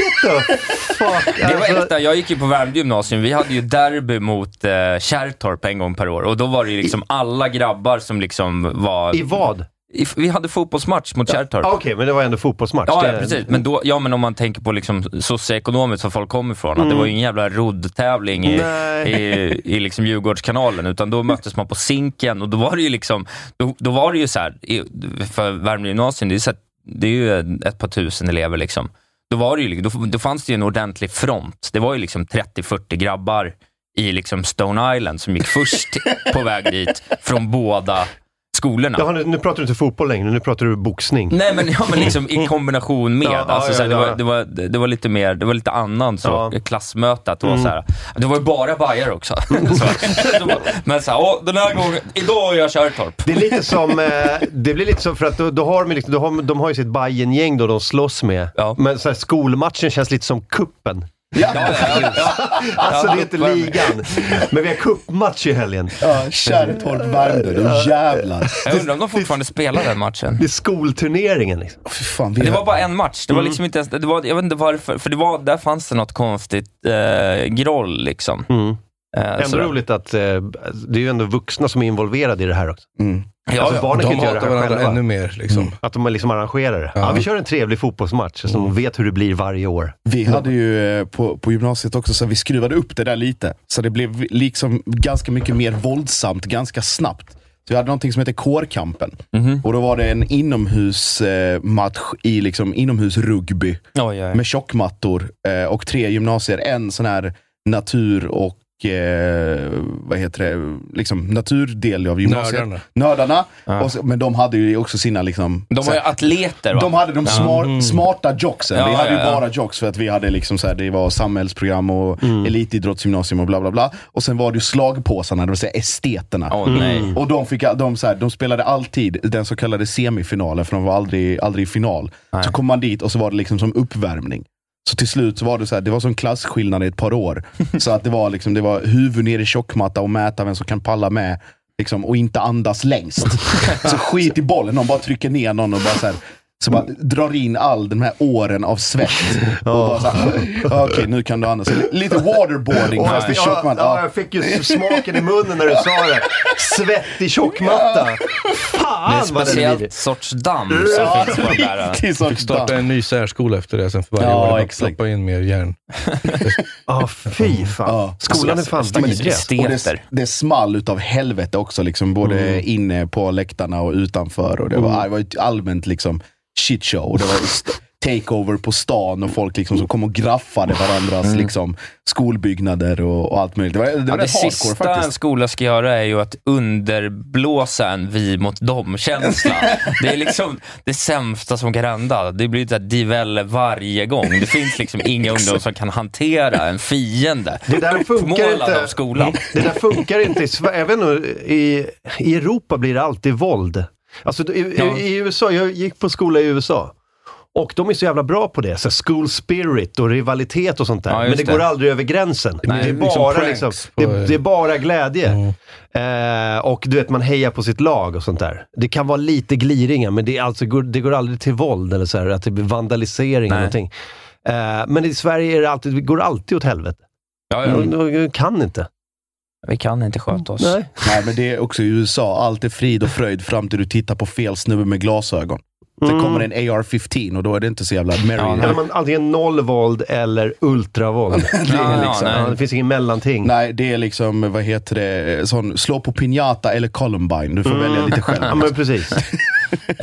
fuck!
Det var
Alltså,
äkta. Jag gick ju på Värmdö gymnasium. Vi hade ju derby mot eh, Kärrtorp en gång per år och då var det ju liksom alla grabbar som liksom var...
I vad?
I- vi hade fotbollsmatch mot Kärrtorp.
Ah, Okej, men det var ändå fotbollsmatch.
Ja,
Det-
ja, precis. Men, då, ja, men om man tänker på liksom socioekonomiskt var folk kom ifrån. Att det var ju ingen jävla roddtävling i,
Mm. Nej.
i, i liksom Djurgårdskanalen, utan då möttes man på Zinken och då var det ju liksom, då, då var det ju så här, i, för Värmdö gymnasium, det är, så här, det är ju ett par tusen elever. Liksom. Då, var det ju, då, då fanns det ju en ordentlig front. Det var ju liksom 30-40 grabbar i liksom Stone Island som gick först på väg dit från båda skolorna.
Jaha, nu, nu pratar du inte fotboll längre, nu pratar du boxning.
Nej men, ja, men liksom i kombination med.
Ja,
alltså,
ja,
såhär,
ja,
det,
ja.
var, det, var, det var lite mer, det var lite annan så,
Ja. Mm.
klassmöte. Att det, var såhär, det var ju bara bajare också. så, men såhär, åh, den här gången, idag är jag Kärrtorp.
Det är lite som, eh, det blir lite som, för att då, då har de, ju liksom, då har, de har ju sitt Bayern-gäng då de slåss med.
Ja.
Men så här, skolmatchen känns lite som kuppen.
Ja, ja, ja, ja.
Alltså det är inte
uppvärmning.
ligan. Men vi har cupmatch i helgen.
Ja, Kärrtorp Värmdö, du jävlar.
Jag undrar om de fortfarande spelar den matchen.
Det är skolturneringen liksom.
Fy fan, vi
Det
har-
var bara en match. Det
Mm.
var liksom inte ens, det var, jag vet inte varför, för det var, där fanns det något konstigt eh, groll liksom.
Mm.
Eh,
Ändå
så-
roligt att eh, det är ju ändå vuxna som är involverade i det här också.
Mm.
Ja,
alltså,
ja.
barnen kan ju
De
inte göra
hatar
det här
varandra
själva.
ännu mer. Liksom.
Att de liksom arrangerar det. Ja.
Ja.
vi kör en trevlig fotbollsmatch så de vet hur det blir varje år.
Vi hade ju eh, på, på gymnasiet också, så vi skruvade upp det där lite. Så det blev liksom ganska mycket mer våldsamt ganska snabbt. Så vi hade någonting som hette Kårkampen.
Mhm.
Och då var det en inomhusmatch i liksom inomhusrugby
Oj, oj.
med tjockmattor eh, och tre gymnasier. En sån här natur och eh, vad heter det, liksom naturdel av gymnasiet.
Nördarna.
Nördarna. Och så, men de hade ju också sina liksom...
De
så
var
här-
ju atleter va?
de hade de smar, smarta jocksen.
Ja,
vi hade ju
ja, ja.
bara jocks för att vi hade liksom så här, det var samhällsprogram och
Mm.
elitidrottsgymnasium och bla bla bla. Och sen var det ju slagpåsarna, det vill säga esteterna.
Åh, nej.
Mm.
Och de, fick, de, så här, de spelade alltid den så kallade semifinalen, för de var aldrig, aldrig i final. Så kom man dit och så var det liksom som uppvärmning. Så till slut så var det så här, det var som klasskillnad i ett par år. så att det var liksom, det var huvud ner i tjockmatta och mäta vem som kan palla med. Liksom, och inte andas längst. så skit i bollen, någon bara trycker ner någon och bara så här, så bara drar in all den här åren av svett. Och bara så här, "Ja, Okej, nu kan du andas. Lite waterboarding
Åh,
fast i
ja,
tjockmatta.
ja, jag fick ju smaken i munnen när du sa det. Svettig tjockmatta.
Det är
Fan vad den lider.
speciellt sorts damm som finns på de där. eh.
Riktig sorts
Fick starta en ny särskola efter det sen för varje
Ja,
år. Bara
exakt.
Ploppa in mer järn.
Ja, fy fan.
Ja.
Skolan är fan vidrig.
Alltså, Och det,
Esteter.
det small utav helvete också, liksom, både
Mm.
inne på läktarna och utanför. Och det, var, det var ett allmänt liksom, shit show. Och det var st- takeover på stan och folk liksom, som kom och graffade varandras liksom, skolbyggnader och, och allt möjligt. Det var, det var
Mm. Ja, det
rätt
sista
hardcore
en
faktiskt.
skola ska göra är ju att underblåsa en vi mot dem-känsla. det är liksom det sämsta som kan hända. Det blir ett divelle varje gång. Det finns liksom inga ungdomar som kan hantera en fiende.
Det där funkar
Uppmålad
inte.
av skolan.
Det där funkar inte i Sverige. Även i, i Europa blir det alltid våld. Alltså i, i,
Ja.
i USA, jag gick på skola i USA. Och de är så jävla bra på det. Så här school spirit och rivalitet och sånt där.
Ja,
Men
just
det,
det.
går aldrig över gränsen.
Nej,
det, är
liksom
bara,
pranks
liksom,
på-
det, det är bara glädje.
Mm.
Eh, och du vet, man hejar på sitt lag och sånt där. Det kan vara lite gliringar, men det, är alltså, går- det går aldrig till våld eller så här, att det blir vandalisering eller
Nej.
någonting. Eh, men i Sverige är det alltid, det går alltid åt helvete.
Ja, ja.
Mm. De, de kan inte.
Vi kan inte sköta oss.
Nej.
Nej, men det är också i USA. Allt är frid och fröjd fram till du tittar på fel snubbe med glasögon. Sen kommer en AR-15 och då är det inte så jävla merry.
Mm. Ja,
Eller man, antingen nollvåld eller ultravåld. det,
Ja,
är
ja,
liksom,
nej.
ja, det finns ingen mellanting.
Nej, det är liksom, vad heter det, sån, slå på piñata eller Columbine. Du får
Mm.
välja lite själv.
Mm. Ja, men precis.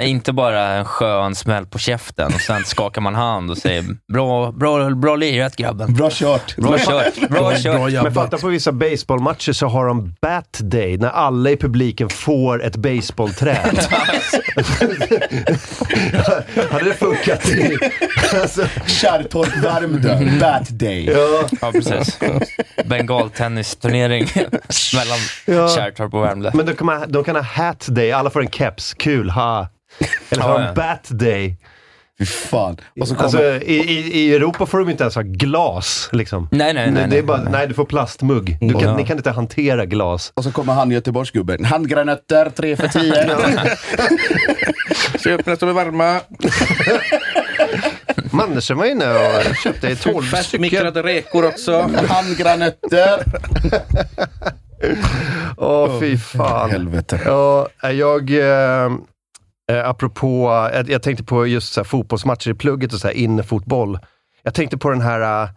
Inte bara en skön smäll på käften och sen skakar man hand och säger bra, bra, bra lirat grabben.
Bra kört.
Bra kört, bra kört.
Men fatta på vissa baseballmatcher så har de bat day, när alla i publiken får ett baseballträ. Hade det funkat? i- alltså,
Kärrtorp, Värmdö, Bat Day.
Mm. ja.
Ja, precis. Bengaltennisturnering mellan
Ja.
Kärrtorp och Värmdö.
Men de kan, ha, de kan ha hat day, alla får en keps, kul, ha. Eller har
Ja,
de
ja.
bat day?
Fy fan. Och så kommer...
Alltså, i, i, I Europa får de inte ens ha glas, liksom.
Nej, nej, nej.
det är
nej.
bara, nej. du får plastmugg. Du kan, Ni kan inte hantera glas.
och så kommer han Göteborgsgubben. Handgranater, tre för tio.
Köp när de är varma.
Mannersen var inne och köpte 12 stycken.
räkor också.
Handgranater.
Åh, fy fan.
Helvete.
Ja, jag... Eh, eh, apropå... eh, Jag tänkte på just så här, fotbollsmatcher i plugget och så här, innefotboll. Jag tänkte på den här... Eh,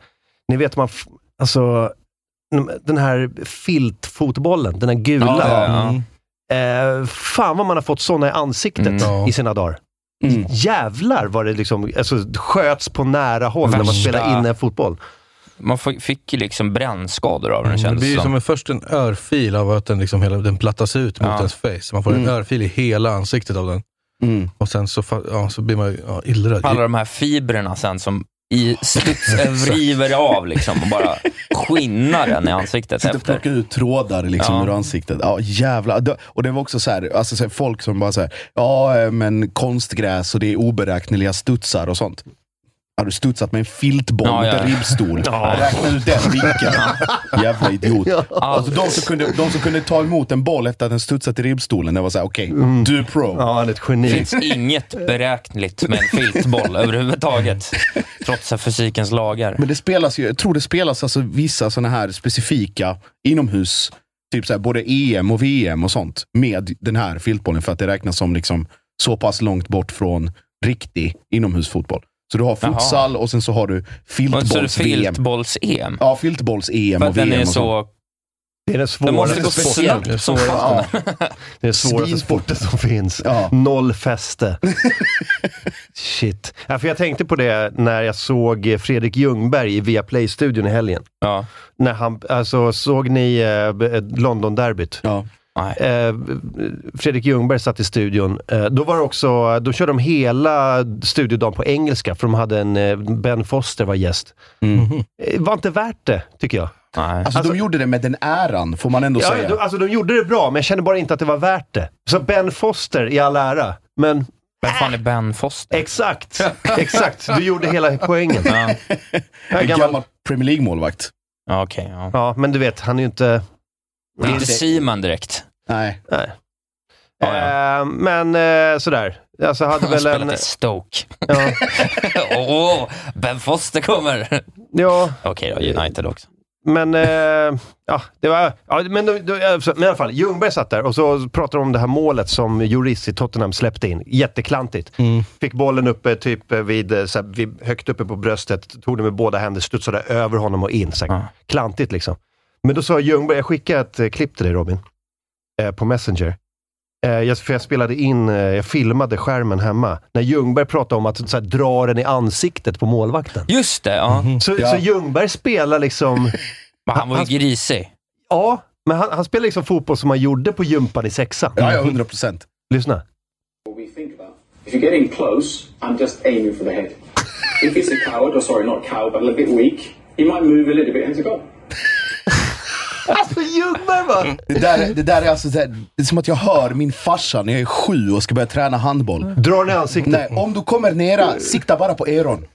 ni vet, man... f- Alltså... Den här filtfotbollen, den här gula.
Ja, ja,
Mm.
ja.
Eh, fan vad man har fått såna i ansiktet
Mm.
Ja.
i sina dagar.
Mm.
Jävlar vad det liksom, alltså, sköts på nära håll när man
Värsta-
spelar inne fotboll.
Man fick- fick ju liksom brännskador av den
Mm, Det
kändes
blir ju som en, först en örfil av att den, liksom hela, den plattas ut mot
Ja.
ens face. Man får en
Mm.
örfil i hela ansiktet av den.
Mm.
Och sen så, fa- ja, så blir man ju, ja, illröd.
Alla de här fibrerna sen som i studs river av liksom och bara skinnar den i ansiktet
Sitter och
efter.
plockar ut trådar liksom
Ja.
ur ansiktet. Ja, jävlar. Det- Och det var också så här, alltså så här, folk som bara så här, ja eh, men konstgräs och det är oberäkneliga studsar och sånt. Har du studsat med en filtboll
Ja,
mot
ja,
en
ja.
ribbstol? Räkna ut den vinkeln. Jävla idiot. Alltså, de, som kunde, de som kunde ta emot en boll efter att den studsat i ribbstolen, det var såhär, okej, du är pro.
Ja, han är ett geni.
finns inget beräkneligt med en filtboll överhuvudtaget. Trots fysikens lagar.
Men det spelas ju, jag tror det spelas alltså vissa sådana här specifika inomhus, typ så här, både EM och VM och sånt, med den här filtbollen för att det räknas som liksom så pass långt bort från riktig inomhusfotboll. Så du har
Jaha.
futsal och sen så har du
Och så är det
filtbolls-VM.
filtbolls-EM.
Ja, filtbolls-EM
För att
och VM.
den är
och sånt.
så...
Det är den
Den måste gå
svåraste, sporten.
snabbt som fan.
Ja,
Det är den svåraste
Svinsport.
sporten som finns.
ja.
Noll fäste. Shit. Ja, för jag tänkte på det när jag såg Fredrik Ljungberg i Viaplay-studion i helgen.
Ja.
När han, alltså, såg ni eh, b- London-derbyt?
Ja.
Nej.
Eh, Fredrik Ljungberg satt i studion. Eh, då, var det också, då körde de hela studiodagen på engelska, för de hade en, eh, Ben Foster var gäst. Eh, var inte värt det, tycker jag.
Nej.
Alltså, de gjorde det med den äran, får man ändå
Ja,
säga.
de, alltså, de gjorde det bra, men jag kände bara inte att det var värt det. Så Ben Foster i all ära, men
Vem fan är Ben Foster?
Exakt, exakt. Du gjorde hela poängen.
Ja,
Ja,
en gammal Premier League-målvakt.
ja okej. ja.
Ja, men du vet, han är ju inte...
Det är inte Simon direkt.
Nej.
Ja, ja.
Eh, men eh, sådär. Alltså hade
Han
väl
spelar
en...
till Stoke.
Ja,
Åh, Ben Foster kommer!
ja
Okej då, United också.
men... Eh, ja, det var... Ja, men, då- då- alltså, men i alla fall, Ljungberg satt där och så pratade de om det här målet som Lloris i Tottenham släppte in. Jätteklantigt. Fick bollen uppe typ vid, eh, så här, vid, högt uppe på bröstet, tog den med båda händer, studsade över honom och in. Så här,
Ja.
Klantigt liksom. Men då sa Ljungberg, jag skickade ett eh, klipp till dig Robin, eh, på Messenger. Eh, jag, för jag spelade in, eh, jag filmade skärmen hemma, när Ljungberg pratade om att så här, dra den i ansiktet på målvakten.
Just det, ja.
Så,
Ja.
så Ljungberg spelar liksom,
Men Mhm. han var ju grisig.
ja, men han, han spelar liksom fotboll som han gjorde på gympan i sexan.
Ja, ja, 100 procent.
Lyssna.
what we think about. If you get in close, I'm just aiming for the head. if it's a coward, or sorry, not coward, but a little bit weak, he might move a little bit and it's a goal.
Alltså Ljungberg va?
Det där, är- det där är alltså, det, här- det är som att jag hör min farsa när jag är sju och ska börja träna handboll.
Dra den i ansiktet.
Nej, om du kommer nära, sikta bara på Eron.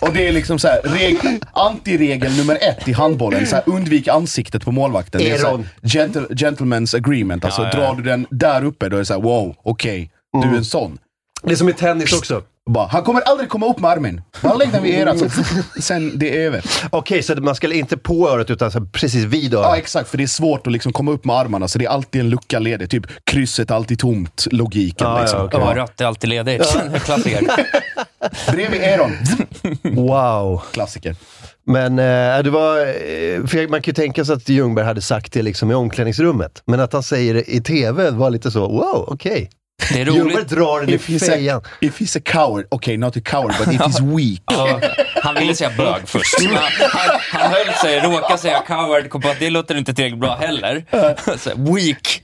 och det är liksom så här, reg- antiregel nummer ett i handbollen. Så här, undvik ansiktet på målvakten. Det är så här,
Eron.
gentle, gentleman's agreement. Alltså, drar du den där uppe, då är det så här, wow, okej, du är en sån.
Det är som liksom i tennis också.
Bara, han kommer aldrig komma upp med armen. Han lägger den vid erat, så sen det är över.
Okej, så man ska inte på örat utan så här, precis vid
Ja,
örat.
exakt. För det är svårt att liksom komma upp med armarna, så det är alltid en lucka ledig. Typ krysset är alltid tomt, logiken.
Ja, ja,
liksom.
okej.
Ja, rött är alltid ledigt. Klassiker.
Bredvid Eron.
Wow.
Klassiker.
Men eh, det var, eh, för jag- man kan ju tänka sig att Ljungberg hade sagt det liksom i omklädningsrummet, men att han säger det i tv var lite så, wow, okej.
Det är
Ljungberg
roligt.
drar den i
If he's, a,
fejan.
if he's a coward, okay, not a coward, but if he's weak.
Ja, han ville säga bög först. men Han, han höll sig, råkade säga coward, kom på att det låter inte tillräckligt bra heller. Så, här, weak.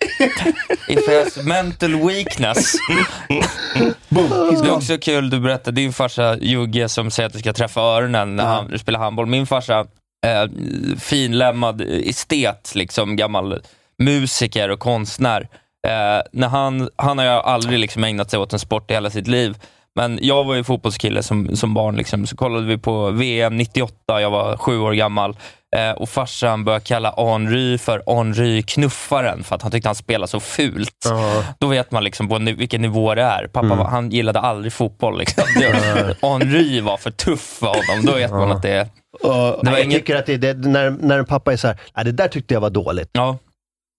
If he has mental weakness.
Boom, he's
Det är
gone.
också kul, du berättade din farsa Jugge som säger att du ska träffa öronen när han spelar handboll. Min farsa, eh, finlämmad estet, liksom gammal musiker och konstnär. Eh, när han, han har ju aldrig liksom ägnat sig åt en sport i hela sitt liv. Men jag var ju fotbollskille som, som barn, liksom. så kollade vi på VM 98, jag var sju år gammal. Eh, och farsan började kalla Henry för Henry Knuffaren, för att han tyckte han spelade så fult. Då vet man liksom på ni- vilken nivå det är.
Mm.
Pappa var, han gillade aldrig fotboll. Liksom. Det, Henry var för tuff för honom. Då vet man att det är... Det var
Nej, jag
inget,
tycker att det, det, när, när en pappa är så här, "Nej, det där tyckte jag var dåligt.
ja.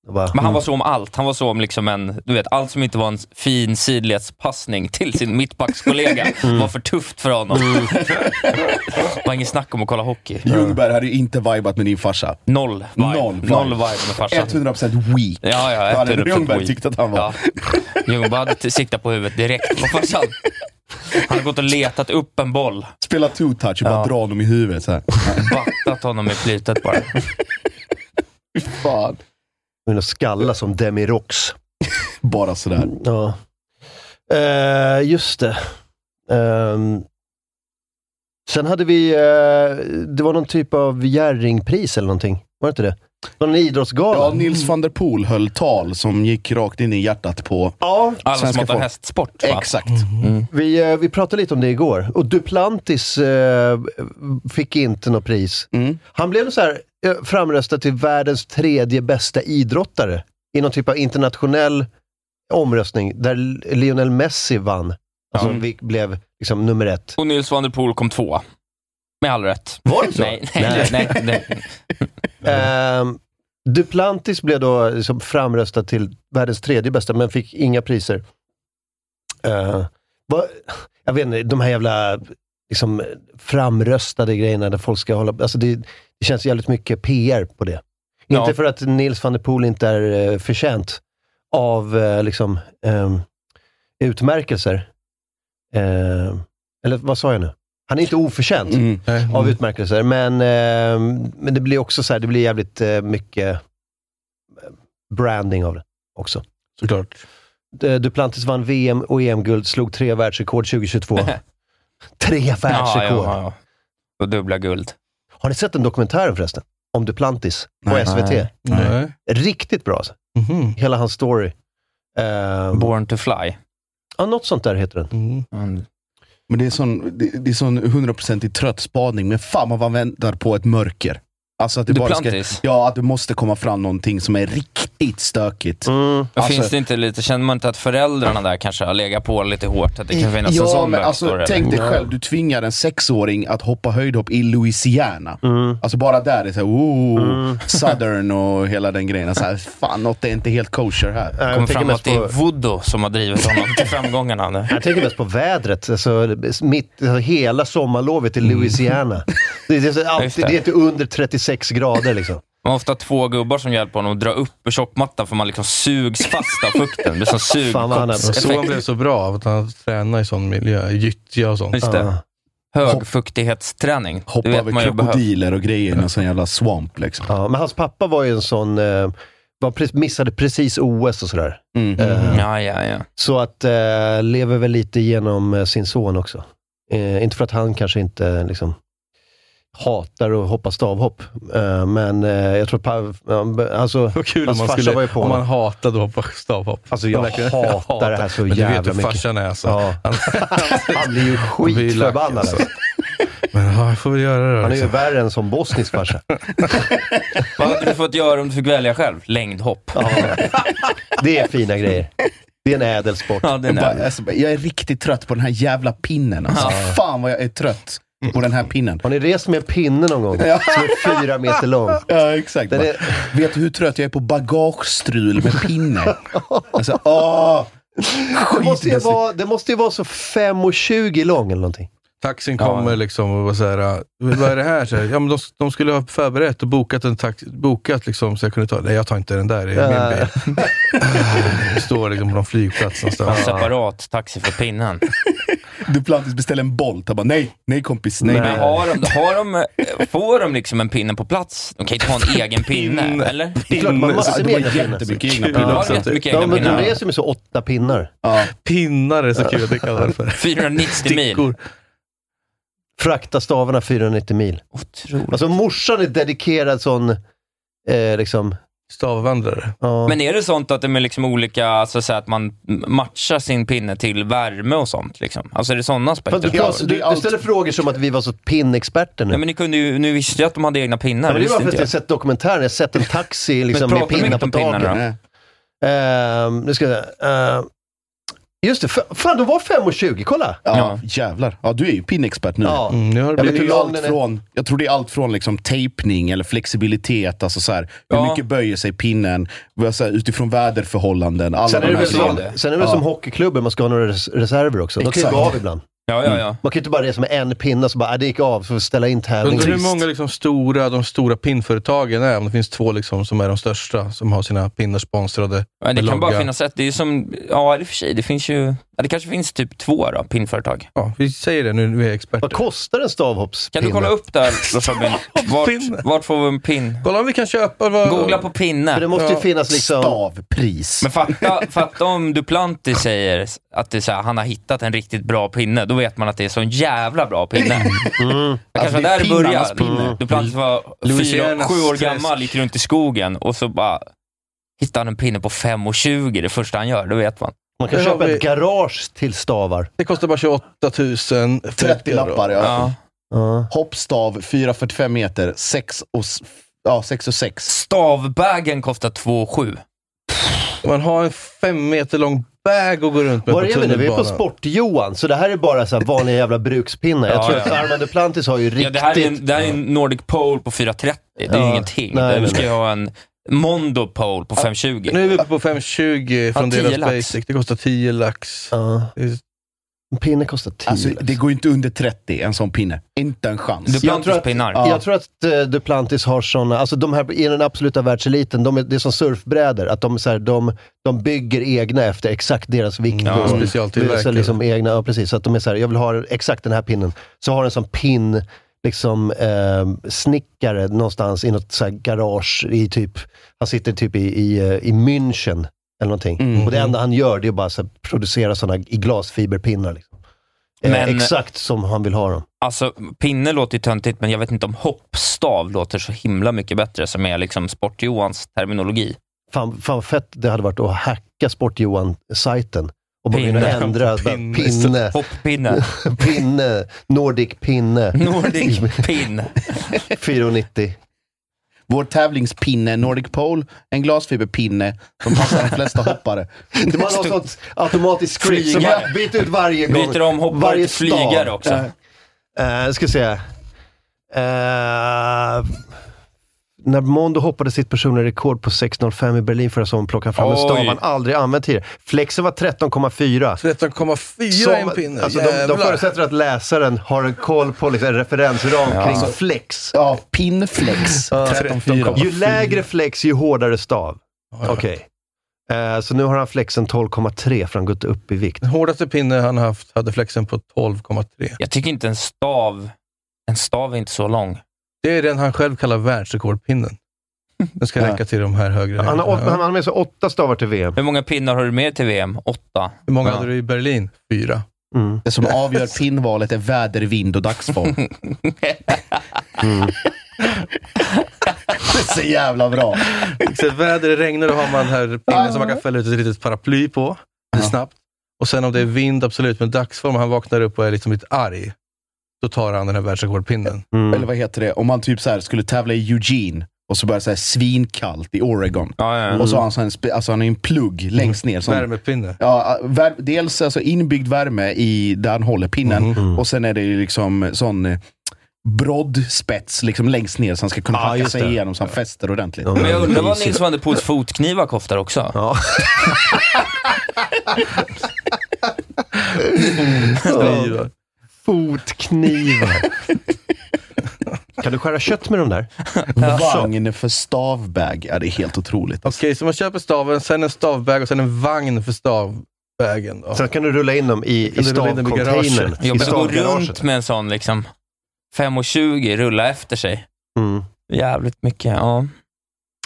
Jag bara,
Men han
Mm.
var så om allt. Han var så om liksom en, du vet, allt som inte var en fin sidledspassning till sin mittbackskollega
Mm.
var för tufft för honom. det var inget snack om att kolla hockey.
Ljungberg hade ju inte vibat med din farsa.
Noll vibe.
Noll
Noll
vibe.
vibe, med farsan.
100% weak.
Ja, ja.
Då hade
100%
Ljungberg
weak.
tyckt att han var...
Ja. Ljungberg hade t- siktat på huvudet direkt på farsan. Han hade gått och letat upp en boll.
Spela two-touch och bara
Ja.
dra honom i huvudet så här.
Battat honom i flytet bara.
Fan.
Men Mm. att skalla som Demirox.
Bara sådär.
Ja. Eh, just det. Ehm, sen hade vi, eh, det var någon typ av Jerringpris eller någonting. Var det inte det? Från en idrottsgala?
Ja, Nils van der Poel höll tal som gick rakt in i hjärtat på
Ja,
Alla
Svenska
som hatar
folk.
hästsport. va? Mm.
Exakt.
vi, eh, vi pratade lite om det igår. Och Duplantis eh, fick inte något pris.
Mm.
Han blev så här, eh, framröstad till världens tredje bästa idrottare i någon typ av internationell omröstning där Lionel Messi vann. Alltså vi blev liksom nummer ett.
Och Nils van der Poel kom tvåa. Med all rätt.
Var det så?
Nej, nej, nej. nej,
Ehm, Duplantis blev då liksom framröstad till världens tredje bästa, men fick inga priser. Eh, vad, jag vet inte, de här jävla liksom, framröstade grejerna där folk ska hålla... Alltså det, det känns jävligt mycket PR på det.
Ja.
Inte för att Nils van der Poel inte är eh, förtjänt av eh, liksom, ehm, utmärkelser. Ehm, eller vad sa jag nu? Han är inte oförtjänt
Mm.
Nej.
av utmärkelser. Men, eh, men det blir också så här, det blir jävligt eh, mycket eh, branding av det också.
Såklart.
Du- Duplantis vann VM och EM-guld, slog tre världsrekord 2022. tre
Ja, ja,
världsrekord!
ja. Och dubbla guld.
Har ni sett den dokumentären förresten? Om Duplantis på
Nej.
SVT.
Nej.
Riktigt bra alltså.
Mhm.
Hela hans story. Eh,
Born to fly.
ja, något sånt där heter den.
Mm.
Mm.
Men det är sån, det, det är sån 100% trött spaning, men fan vad man väntar på ett mörker. Alltså att det bara ska,
Duplantis.
ja, att det måste komma fram någonting som är riktigt stökigt.
Mm.
Men
Alltså-
finns det inte lite, känner man inte att föräldrarna där kanske har legat på lite hårt? Att det kan finnas en
ja,
sån
men
backstory,
alltså,
eller?
tänk dig själv, du tvingar en sexåring att hoppa höjdhopp i Louisiana. Alltså bara där, det är såhär, ooh, southern och hela den grejen. Så här, fan, något är inte helt kosher här.
Nej,
kommer
jag, tänker
fram att
mest
det är
på,
voodoo som har drivit honom till framgångarna. nu.
jag tänker mest på vädret. Alltså, mitt, alltså, hela sommarlovet i Louisiana. Det, det, är så
Just
alltid,
det.
det är inte under 36 grader liksom.
Man har ofta två gubbar som hjälper honom att dra upp ur tjockmattan för man liksom sugs fast av fukten. Det är som
Fan vad han är-
Och Så han
sugkoppseffekt.
blev så bra av att han tränade i sån miljö, gyttja och sånt.
Just det. Högfuktighetsträning.
Hoppa
det vet
över
man ju behövs.
krokodiler och grejer i en sån jävla swamp liksom.
Ja, men hans pappa var ju en sån, eh, var, pre- missade precis OS och sådär.
Mm.
Eh,
Ja, ja, ja.
Så att, eh, lever väl lite genom eh, sin son också. Eh, inte för att han kanske inte eh, liksom, hatar att hoppa stavhopp, eh, men eh, jag tror pa, ja, alltså,
Vad kul om
Hans
man,
farsa
skulle,
var ju på
om
honom.
man hatade att hoppa stavhopp.
Alltså, jag
Verkligen.
hatar det här så
Men
jävla
du vet hur
mycket.
farsan är alltså.
ja, han blir ju skitförbannad. Alltså.
Men ja, jag får väl göra det då.
Han är ju
Liksom.
värre än som bosnisk farsa.
Vad hade du fått göra om du fick välja själv? Längdhopp.
Ja. Det är fina grejer. Det är en ädel sport.
Ja, den
Jag,
är.
bara, alltså, jag är riktigt trött på den här jävla pinnen. Alltså. Fan vad jag är trött på den här pinnen.
Har ni rest med en pinne någon gång? Som är fyra meter lång.
Ja, exakt.
Den
Bara, Vet du hur trött jag är på bagagestrul med pinne? Alltså, åh!
Det måste ju vara, det måste ju vara så 5,20 lång eller någonting.
Taxin kommer liksom och var så här, vad är det här? Så här ja, men de, de skulle ha förberett och bokat en taxi, bokat liksom, så jag kunde ta, nej jag tar inte den där, det är min bil. Det står liksom på någon flygplats
En
någonstans.
separat taxi för pinnen.
Duplantis beställer en Bolt. Han bara, nej, nej kompis, nej.
Men
nej.
har de, har de, får de liksom en pinne på plats? De kan ju inte ha en egen pinne, eller?
Det är klart man
Så
måste
det
med
var
egna pinnar.
jättemycket egna
De
pinnar.
har jättemycket
Ja,
egna
men de
pinnar.
reser med så åtta pinnar.
Ja.
Pinnar är så kul att det kallar det för.
490 mil.
Stickor.
Frakta stavarna 490 mil.
Otroligt.
Alltså morsan är dedikerad sån, eh, liksom,
Stavvandrare.
ja.
Men är det sånt att det är liksom olika, alltså så här att man matchar sin pinne till värme och sånt? Liksom? Alltså är det sådana
Fast
aspekter?
du,
Ja, alltså, det är
du, du
allt-
ställer frågor som att vi var så pinnexperter nu.
Ja, men ni kunde ju, nu visste jag att de hade egna pinnar.
Ja, men det
visste
var för att
inte
jag har
jag.
sett dokumentären, jag har sett en taxi liksom,
Men
med
pratar de
pinnar
inte
på
om pinnarna
taket.
då?
Nej.
Ehm, nu ska jag säga. ehm, just det, fa- fan de var 5,20, kolla!
Ja, jävlar. Ja, du är ju pinnexpert nu.
Ja.
Mm, nu har det
Jag
Jag,
vet
det är
hur
ju
lång
allt
den är.
från, jag tror det är allt från liksom tejpning eller flexibilitet, alltså så här, hur
Ja.
mycket böjer sig pinnen, vad så här, utifrån väderförhållanden. Mm. Alla
Sen
de
är det
här
väl som,
grejerna.
sen är det väl
Ja.
som hockeyklubben, man ska ha några res- reserver också. De kan ju
Exakt.
gå av ibland.
Ja, ja, ja.
Man kan ju inte bara resa med en pinne och så bara, "Ah, det gick av, så får vi ställa in tävlingen.
Undrar hur många liksom stora, de stora pinnföretagen är, om det finns två liksom som är de största, som har sina pinnar sponsrade.
Men det
med
kan bara
logga.
finnas ett. Det är ju som, ja i och för sig, det finns ju, ja, det kanske finns typ två då, pinnföretag.
Ja, vi säger det nu, vi är experter.
Vad kostar en stavhoppspinne?
Kan du kolla upp där Robin? Vart, vart får vi en pinn?
Kolla om vi kan köpa... Vad,
Googla på
För det
pinne.
måste ju liksom-
Ja.
finnas liksom...
Stavpris.
Men fatta, fatta om Duplantis säger att det är så här, han har hittat en riktigt bra pinne, då vet man att det är så en jävla bra pinne. Det kanske var
det är
där det
pinnarnas pinne.
började. Du plötsligt var fyra,
Louisianas
sju år
träsk.
gammal, gick runt i skogen och så bara hittade han en pinne på 5,20 det första han gör, då vet man.
Man kan
Där har
köpa
vi-
ett garage till stavar.
Det kostar bara 28 000.
30 lappar ja.
Ja.
Ja.
Hoppstav 4,45 meter, 6 och, s- ja, 6 och 6.
Stavbägen kostar 2,7.
Man har en fem meter lång bag och går runt med
Var
på
är vi nu? Vi är på
tunnelbanan.
Sport-Johan, så det här är bara så här vanliga jävla brukspinnar. Jag
Ja,
tror
ja.
att Armand Duplantis har ju riktigt...
Ja, det, här är en, det här är en Nordic Pole på 4,30. Det är ju
Ja.
ingenting.
Nej,
Nej,
nej,
du ska ju ha en Mondo Pole på 5,20.
Nu är vi uppe på 520 från
Ja, 10
deras
lax.
basic. Det kostar 10 lax.
Ja.
Det är-
En pinne kostar 10
Alltså,
lax.
det går ju inte under 30, en sån pinne. Inte en chans.
Du
tror
plantar
att-
pinnar.
Ja.
Jag tror att eh, Duplantis har sådana, alltså de här i den absoluta världseliten, de är, det är som surfbrädor. Att de, är så här, de, de bygger egna efter exakt deras vikt.
Ja,
och
specialtillverkade.
så liksom egna, ja, precis. Så att de är så här, jag vill ha exakt den här pinnen. Så har en sån pinn, liksom eh, snickare någonstans i något så här garage i typ, han sitter typ i, i, eh, i München eller någonting. Och det enda han gör det är bara så här, producera sådana i glasfiberpinnar. Liksom. Eh,
Men-
exakt som han vill ha dem.
Alltså, pinne låter ju töntigt, men jag vet inte om hoppstav låter så himla mycket bättre, som är liksom Sport-Johans terminologi.
Fan, fan vad fett det hade varit att hacka Sport-Johan-sajten och bara gå in och
Pinne.
ändra pinne,
Pinne.
pinne,
Hopppinne,
pinne Nordic pinne,
Nordic pin.
490.
Vår tävlingspinne, Nordic Pole, en glasfiberpinne som passar de flesta hoppare.
Det var något sånt automatiskt script som
Flygare.
jag byter ut varje gång.
Byter om hoppare
varje
till flygare
stav.
också.
Eh, ska se. Eh, när Mondo hoppade sitt personliga rekord på 6.05 i Berlin förra sommaren plockade han fram en stav
Oj.
han aldrig använt tidigare. Flexen var 13,4.
13,4 är en pinne.
alltså de, de
Jävlar.
förutsätter att läsaren har en koll på liksom, en referensram kring flex.
Ja, pinflex. 13,4.
Ju lägre flex, ju hårdare stav.
ja.
Okej. Eh, så nu har han flexen 12,3 för han gått upp i vikt.
Den hårdaste pinne han haft hade flexen på 12,3.
Jag tycker inte en stav, en stav är inte så lång.
Det är den han själv kallar världsrekordpinnen. Den ska
Ja.
räcka till de här högre
Han har, åt,
höjderna.
han har med sig åtta stavar till VM.
Hur många pinnar har du med till VM? Åtta.
Hur många
Ja.
hade du i Berlin? Fyra.
Mm.
Det som avgör pinnvalet är väder, vind och dagsform. Mm. Det är så jävla bra.
Så väder det regnar, då har man den här pinnen som man kan fälla ut ett litet paraply på. Lite
Ja.
snabbt. Och sen om det är vind, absolut. Men dagsform, han vaknar upp och är liksom lite arg. Då tar han den här världsrekordpinnen.
Mm.
Eller vad heter det? Om man typ så här skulle tävla i Eugene och så börjar det så här svinkallt i Oregon.
Ja, ja. ja.
Och så har han, så här en, spe- alltså han har en plugg längst ner. Som,
Värmepinne.
Ja, vär, dels alltså inbyggd värme i, där han håller pinnen.
Mm.
Och sen är det ju liksom sån eh, broddspets liksom längst ner så han ska kunna
Ja,
hacka
just
sig
det.
igenom så han fäster ordentligt.
Ja,
Men jag undrar vad
Mysigt.
Nils van der Poels fotknivar kostar också.
Ja.
Knivar.
Fotknivar. kan du skära kött med de där?
Vagn för stavbag. Ja, det är helt otroligt.
Okej, så man köper staven, sen en stavbag och sen en vagn för stavbägen. Då.
Sen kan du rulla in dem i, i
Kan du rulla in dem i
stavcontainern.
garaget?
I
Jobbigt att gå
stavgaraget.
runt med en sån liksom. 5,20 rulla efter sig.
Mm.
Jävligt mycket. Ja.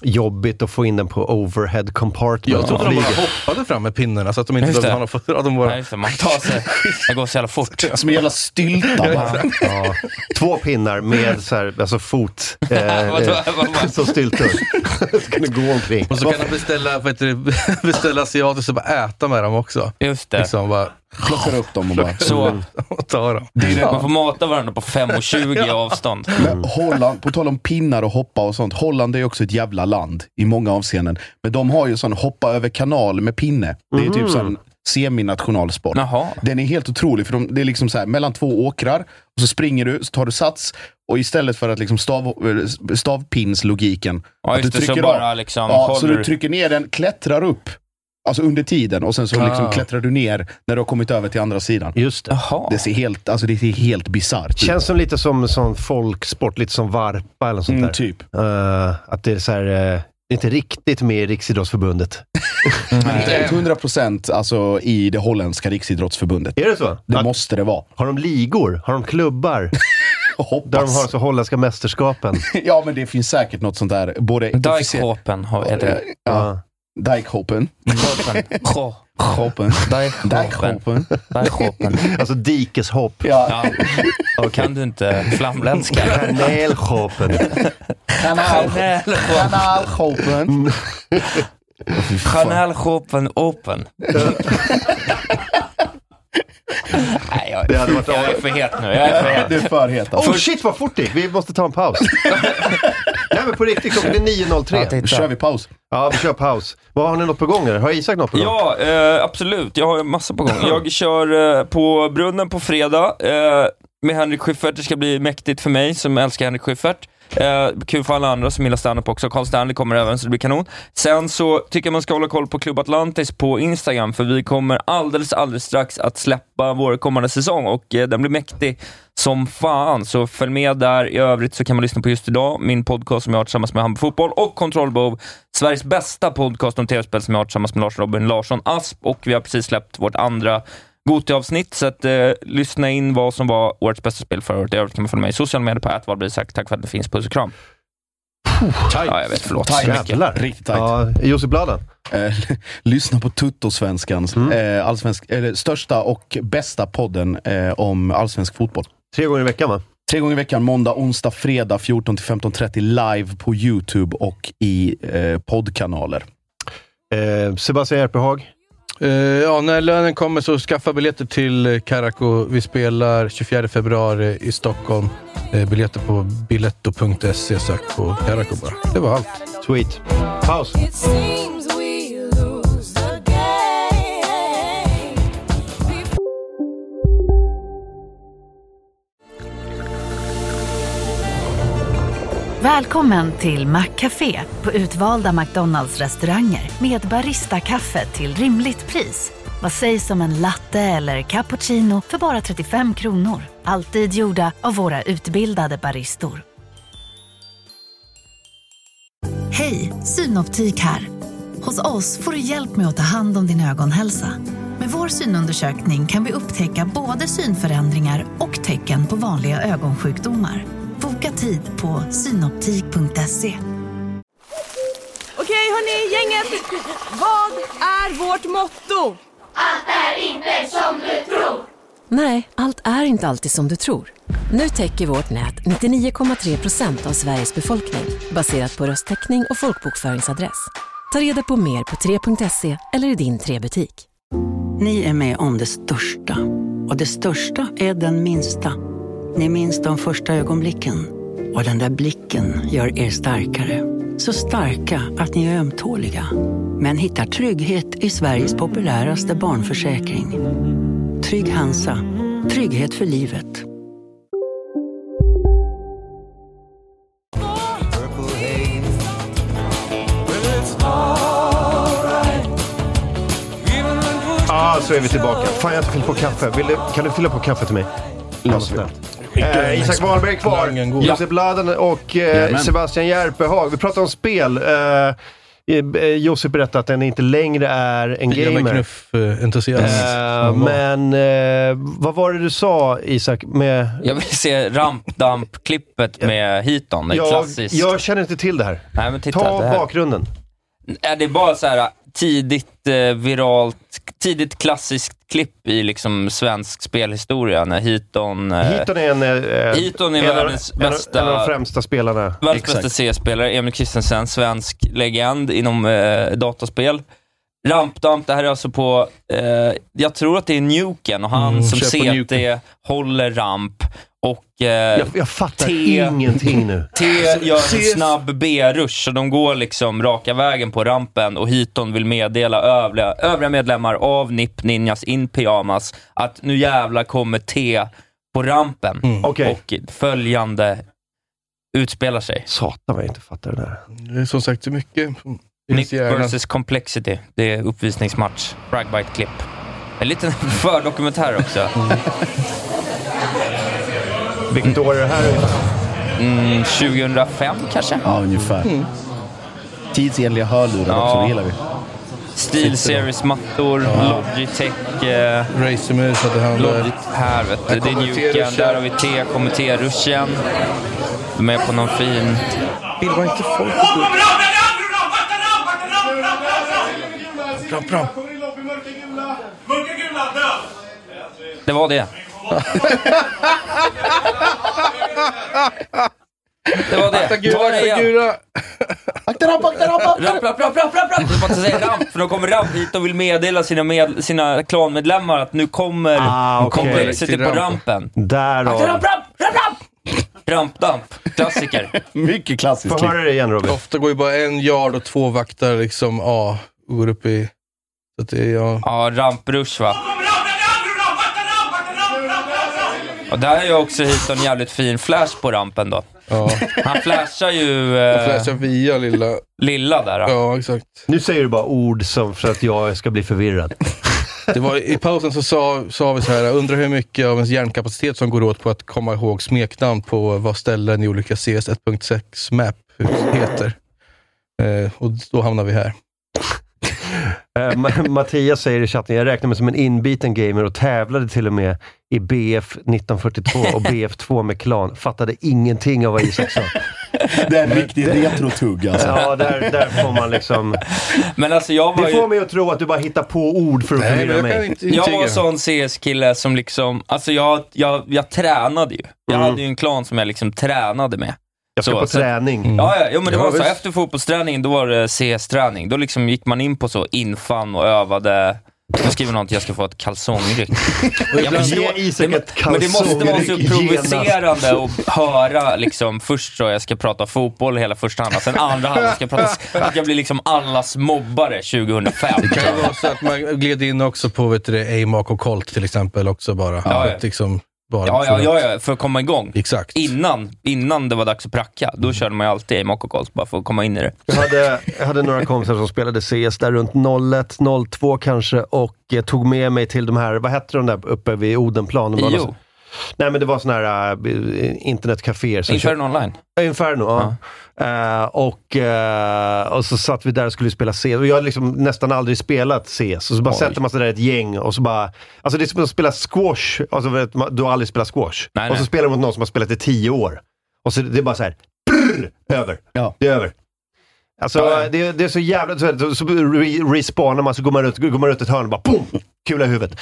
Jobbigt att få in den på overhead compartment.
Jag trodde
på
de bara
flyget.
hoppade fram med pinnarna så att de inte
Just
behövde
det.
ha någon fot- att de bara...
Nej, just det, man tar sig. Det går så jävla fort.
Som en jävla stylta. bara.
ja. Två pinnar med så här, alltså fot eh,
Vad- vad-
eh,
vad-
som styltor. så kan du gå omkring.
Och så kan de beställa, vad heter det, beställa asiatiskt och bara äta med dem också.
Just det.
Liksom bara
Plockar upp dem och bara...
Så.
och ta dem.
Man får mata varandra på 5,20 i avstånd.
Men Holland, på tal om pinnar och hoppa och sånt. Holland är ju också ett jävla land i många avseenden. Men de har ju sån hoppa över kanal med pinne. Det är
Mm.
typ sån seminationalsport.
Jaha.
Den är helt otrolig, för de, det är liksom så här, mellan två åkrar, och så springer du, så tar du sats, och istället för att liksom stav, eh, stavpinslogiken,
Ja,
att du
just det. Så
trycker
bara
av.
liksom
Ja, så
håller
du trycker ner den, klättrar upp, alltså under tiden, och sen så liksom
Ah.
klättrar du ner när du har kommit över till andra sidan.
Just det.
Jaha.
Det ser helt, alltså det ser helt bisarrt ut.
Känns som lite som sån folksport, lite som varpa eller något sånt där.
Mm, typ.
Eh, att det är så här, eh, inte riktigt med i Riksidrottsförbundet.
Inte ett 100 procent alltså, i det holländska riksidrottsförbundet.
Är det så?
Det
Att-
måste det vara.
Har de ligor? Har de klubbar?
Jag
Där de har
Hoppas.
så holländska mästerskapen?
Ja, men det finns säkert något sånt där. Både
Dijkhopen har- heter det.
Ja, Dijkhopen.
Hopen. Ho.
Shoppen.
Där shoppen. Där shoppen.
Alltså dikeshopp.
Ja. Och kan du inte flamländska?
Kanelshoppen.
Chanel-shoppen.
Kanalshopen.
Chanel-shoppen open. Nej, jag,
Det hade varit
jag är för het nu. Jag är för het.
Du är för het alltså.
Oh shit vad fort det gick. Vi måste ta en paus. Nej men på riktigt, klockan är 9.03.
eh,
Då kör vi paus.
Ja, vi kör paus. Vad Har ni något på gång eller? Har Isak något på gång?
Ja, eh, absolut. Jag har ju massa på gång. Jag kör eh, på Brunnen på fredag eh, med Henrik Schyffert. Det ska bli mäktigt för mig som älskar Henrik Schyffert. Eh, kul för alla andra som gillar standup också. Carl Stanley kommer även, så det blir kanon. Sen så tycker jag man ska hålla koll på Club Atlantis på Instagram, för vi kommer alldeles, alldeles strax att släppa vår kommande säsong och eh, den blir mäktig som fan. Så följ med där. I övrigt så kan man lyssna på Just Idag, min podcast som jag har tillsammans med Hammarby Fotboll och Kontrollbov, Sveriges bästa podcast om tv-spel som jag har tillsammans med Lars Robin Larsson Asp och vi har precis släppt vårt andra Gothia-avsnitt, så att, eh, lyssna in vad som var årets bästa spel förra året. I övrigt kan man följa mig i sociala medier på ätvalbrisak. Tack för att ni finns. Puss och kram. Ja, jag vet. Förlåt.
Jävlar.
Riktigt tajt.
Ja, Josef Bladan.
Eh, lyssna på Tuttosvenskans,
Mm.
eh, allsvensk, eller, största och bästa podden eh, om allsvensk fotboll.
Tre gånger i veckan va?
Tre gånger i veckan, måndag, onsdag, fredag 14-15.30 live på YouTube och i eh, poddkanaler.
Eh, Sebastian Järpehag.
Eh, ja, när lönen kommer så skaffa biljetter till eh, Karaco. Vi spelar 24 februari i Stockholm. Eh, biljetter på biletto.se. Sök på Karaco bara. Det var allt.
Sweet. Paus.
It seems we lose the game.
Välkommen till Maccafé på utvalda McDonalds restauranger med Baristakaffe till rimligt pris. Vad sägs om en latte eller cappuccino för bara 35 kronor? Alltid gjorda av våra utbildade baristor. Hej, Synoptik här. Hos oss får du hjälp med att ta hand om din ögonhälsa. Med vår synundersökning kan vi upptäcka både synförändringar och tecken på vanliga ögonsjukdomar. Boka tid på synoptik.se.
Okej, hörni, gänget. Vad är vårt motto?
Nej, allt är inte alltid som du tror. Nu täcker vårt nät 99,3 procent av Sveriges befolkning baserat på röstteckning och folkbokföringsadress. Ta reda på mer på 3.se eller i din 3-butik.
Ni är med om det största. Och det största är den minsta. Ni minns de första ögonblicken. Och den där blicken gör er starkare. Så starka att ni är ömtåliga. Men hittar trygghet i Sveriges populäraste barnförsäkring. Trygg Hansa. Trygghet för livet.
Ah, så är vi tillbaka. Fan, jag har inte fyllt på kaffe. Vill du, kan du fylla på kaffe till mig? Eh, Isak Wahlberg är
Langen
kvar.
god.
Josef Bladan och eh,
Jajamän.
Sebastian Järpehag. Vi pratar om spel. Eh, eh, Josef berättade att den inte längre är en
Jävla
gamer.
knufffentusiast. Mm.
Eh, men eh, vad var det du sa, Isak? Med,
Jag vill se rampdamp-klippet med Hiton. Det är
jag,
klassiskt.
jag känner inte till det här.
Nej, men titta,
Ta
det här.
bakgrunden.
Är det bara så här eh, tidigt eh, viralt, tidigt klassiskt klipp i liksom svensk spelhistoria när Hiton, eh,
Heaton är en, eh,
Heaton är
en, av-
världens
en, av-
bästa-
en av de främsta spelarna.
världens bästa CS-spelare, Emil Christensen, svensk legend inom eh, dataspel. Rampdamp, det här är alltså på, eh, jag tror att det är Nuken och han
Mm,
som
kör på
CT
Nuken.
håller ramp och eh,
Jag, jag fattar
T.
ingenting nu.
T gör en snabb B-rush, så de går liksom raka vägen på rampen och Hiton vill meddela övriga, övriga medlemmar av NIP Ninjas in Pyjamas att nu jävla kommer T på rampen.
Mm,
Okej.
Och följande utspelar sig.
Satan vad jag inte fattar det där.
Det är som sagt så mycket som
NIP
finns i hjärnan.
vs Complexity. Det är uppvisningsmatch. Fragbite-klipp. En liten fördokumentär också.
Vilket år är det här?
Mm, 2005 kanske?
Ja, ungefär. Tidsenliga hörlurar
Ja.
också, det gillar vi.
Steel Series-mattor, Logitech. Eh,
Racermus hade han där.
Logit här vet du. Det är
kommer
Nuken,
T-ruschen.
där har vi T, kommer T-ruschen. De är på någon fin...
Vill man inte folk...
Bra, bra, bra, bra, bra, bra, bra, bra, bra.
Fram, fram.
Det var det. Det var det.
Akta gula,
Ta det
akta
igen.
gula.
Akta ramp, akta ramp, akta
ramp! Rapp, rapp, rapp, rapp, rapp! Du får inte säga ramp, för då kommer ramp hit och vill meddela sina, med, sina klanmedlemmar att nu kommer
Ah, okej.
komplexet
Till
på
rampen.
rampen.
Där
Akta
har
ramp, ramp, ramp, ramp! Rampdamp, klassiker.
Mycket klassiskt.
Får höra det igen Robin.
Ofta går ju bara en yard och två vaktar liksom, ja, och går upp i... Så att det är, ja.
Ja, ramprush va. Och där har jag också hyrt en jävligt fin flash på rampen då.
ja.
Han flashar ju...
Jag
Eh,
flashar via lilla...
lilla där. Då.
Ja, exakt.
Nu säger du bara ord som för att jag ska bli förvirrad.
Det var, I pausen så sa, sa vi så här, undrar hur mycket av ens hjärnkapacitet som går åt på att komma ihåg smeknamn på vad ställen i olika CS 1.6 map heter. Eh, och då hamnar vi här.
Eh, Ma- Mattias säger i chatten, jag räknar mig som en inbiten gamer och tävlade till och med i BF 1942 och BF2 med klan. Fattade ingenting av vad Isak sa.
Det är en riktig retrotugg alltså.
Ja, där, där får man liksom...
Men alltså jag var
Det
ju...
får mig att tro att du bara hittar på ord för att
Nej, men
förvirra
jag kan
mig.
inte
Jag var
intyga.
en sån CS-kille som liksom, alltså jag, jag, jag tränade ju. Jag hade ju en klan som jag liksom tränade med.
Mm. Jag ska
så, Mm.
på
så-
träning.
Ja, ja, jo, men det
Mm. Ja,
var så.
visst.
Efter fotbollsträningen, då var det CS-träning. Då liksom gick man in på så infann och övade. Då skriver någon att jag ska få ett kalsongryck. Ja, men
Ge
då-
Isak
det-
ett
Men det måste vara så
kalsongryck
provocerande att höra liksom, först så jag ska prata fotboll hela första halvan, sen andra halvan ska jag prata... Att jag blir liksom allas mobbare 2005.
Det kan ju vara så att man gled in också på vet du, det, AIM och Colt till exempel också bara.
Ja, ja.
Att liksom, bara
Ja, ja,
för
ja,
att-
ja, för att komma igång.
Exakt.
Innan, innan det var dags att pracka, då körde man ju alltid i Mokokos bara för att komma in i det.
Jag hade, jag hade några kompisar som spelade CS där runt 01, 02 kanske och eh, tog med mig till de här, vad hette de där uppe vid Odenplan? De var
IO.
någon- Nej men det var sådana här äh, internetcaféer. som kö-
Inferno online.
Ja, Inferno, ja. Eh, och, eh, och så satt vi där och skulle spela CS. Och jag har liksom nästan aldrig spelat CS. Och så bara
Oj.
sätter man sig där i ett gäng och så bara... Alltså det är som att spela squash. Alltså för att man- du har aldrig spelat squash.
Nej,
och så
nej.
spelar du mot någon som har spelat i tio år. Och så det är bara så här... Brr, över.
Ja.
Det är över. Alltså
Ja, ja.
Det, det är så jävla... Så, så, så re, respawnar man, så går man, runt, går man runt ett hörn och bara boom! Kula i huvudet.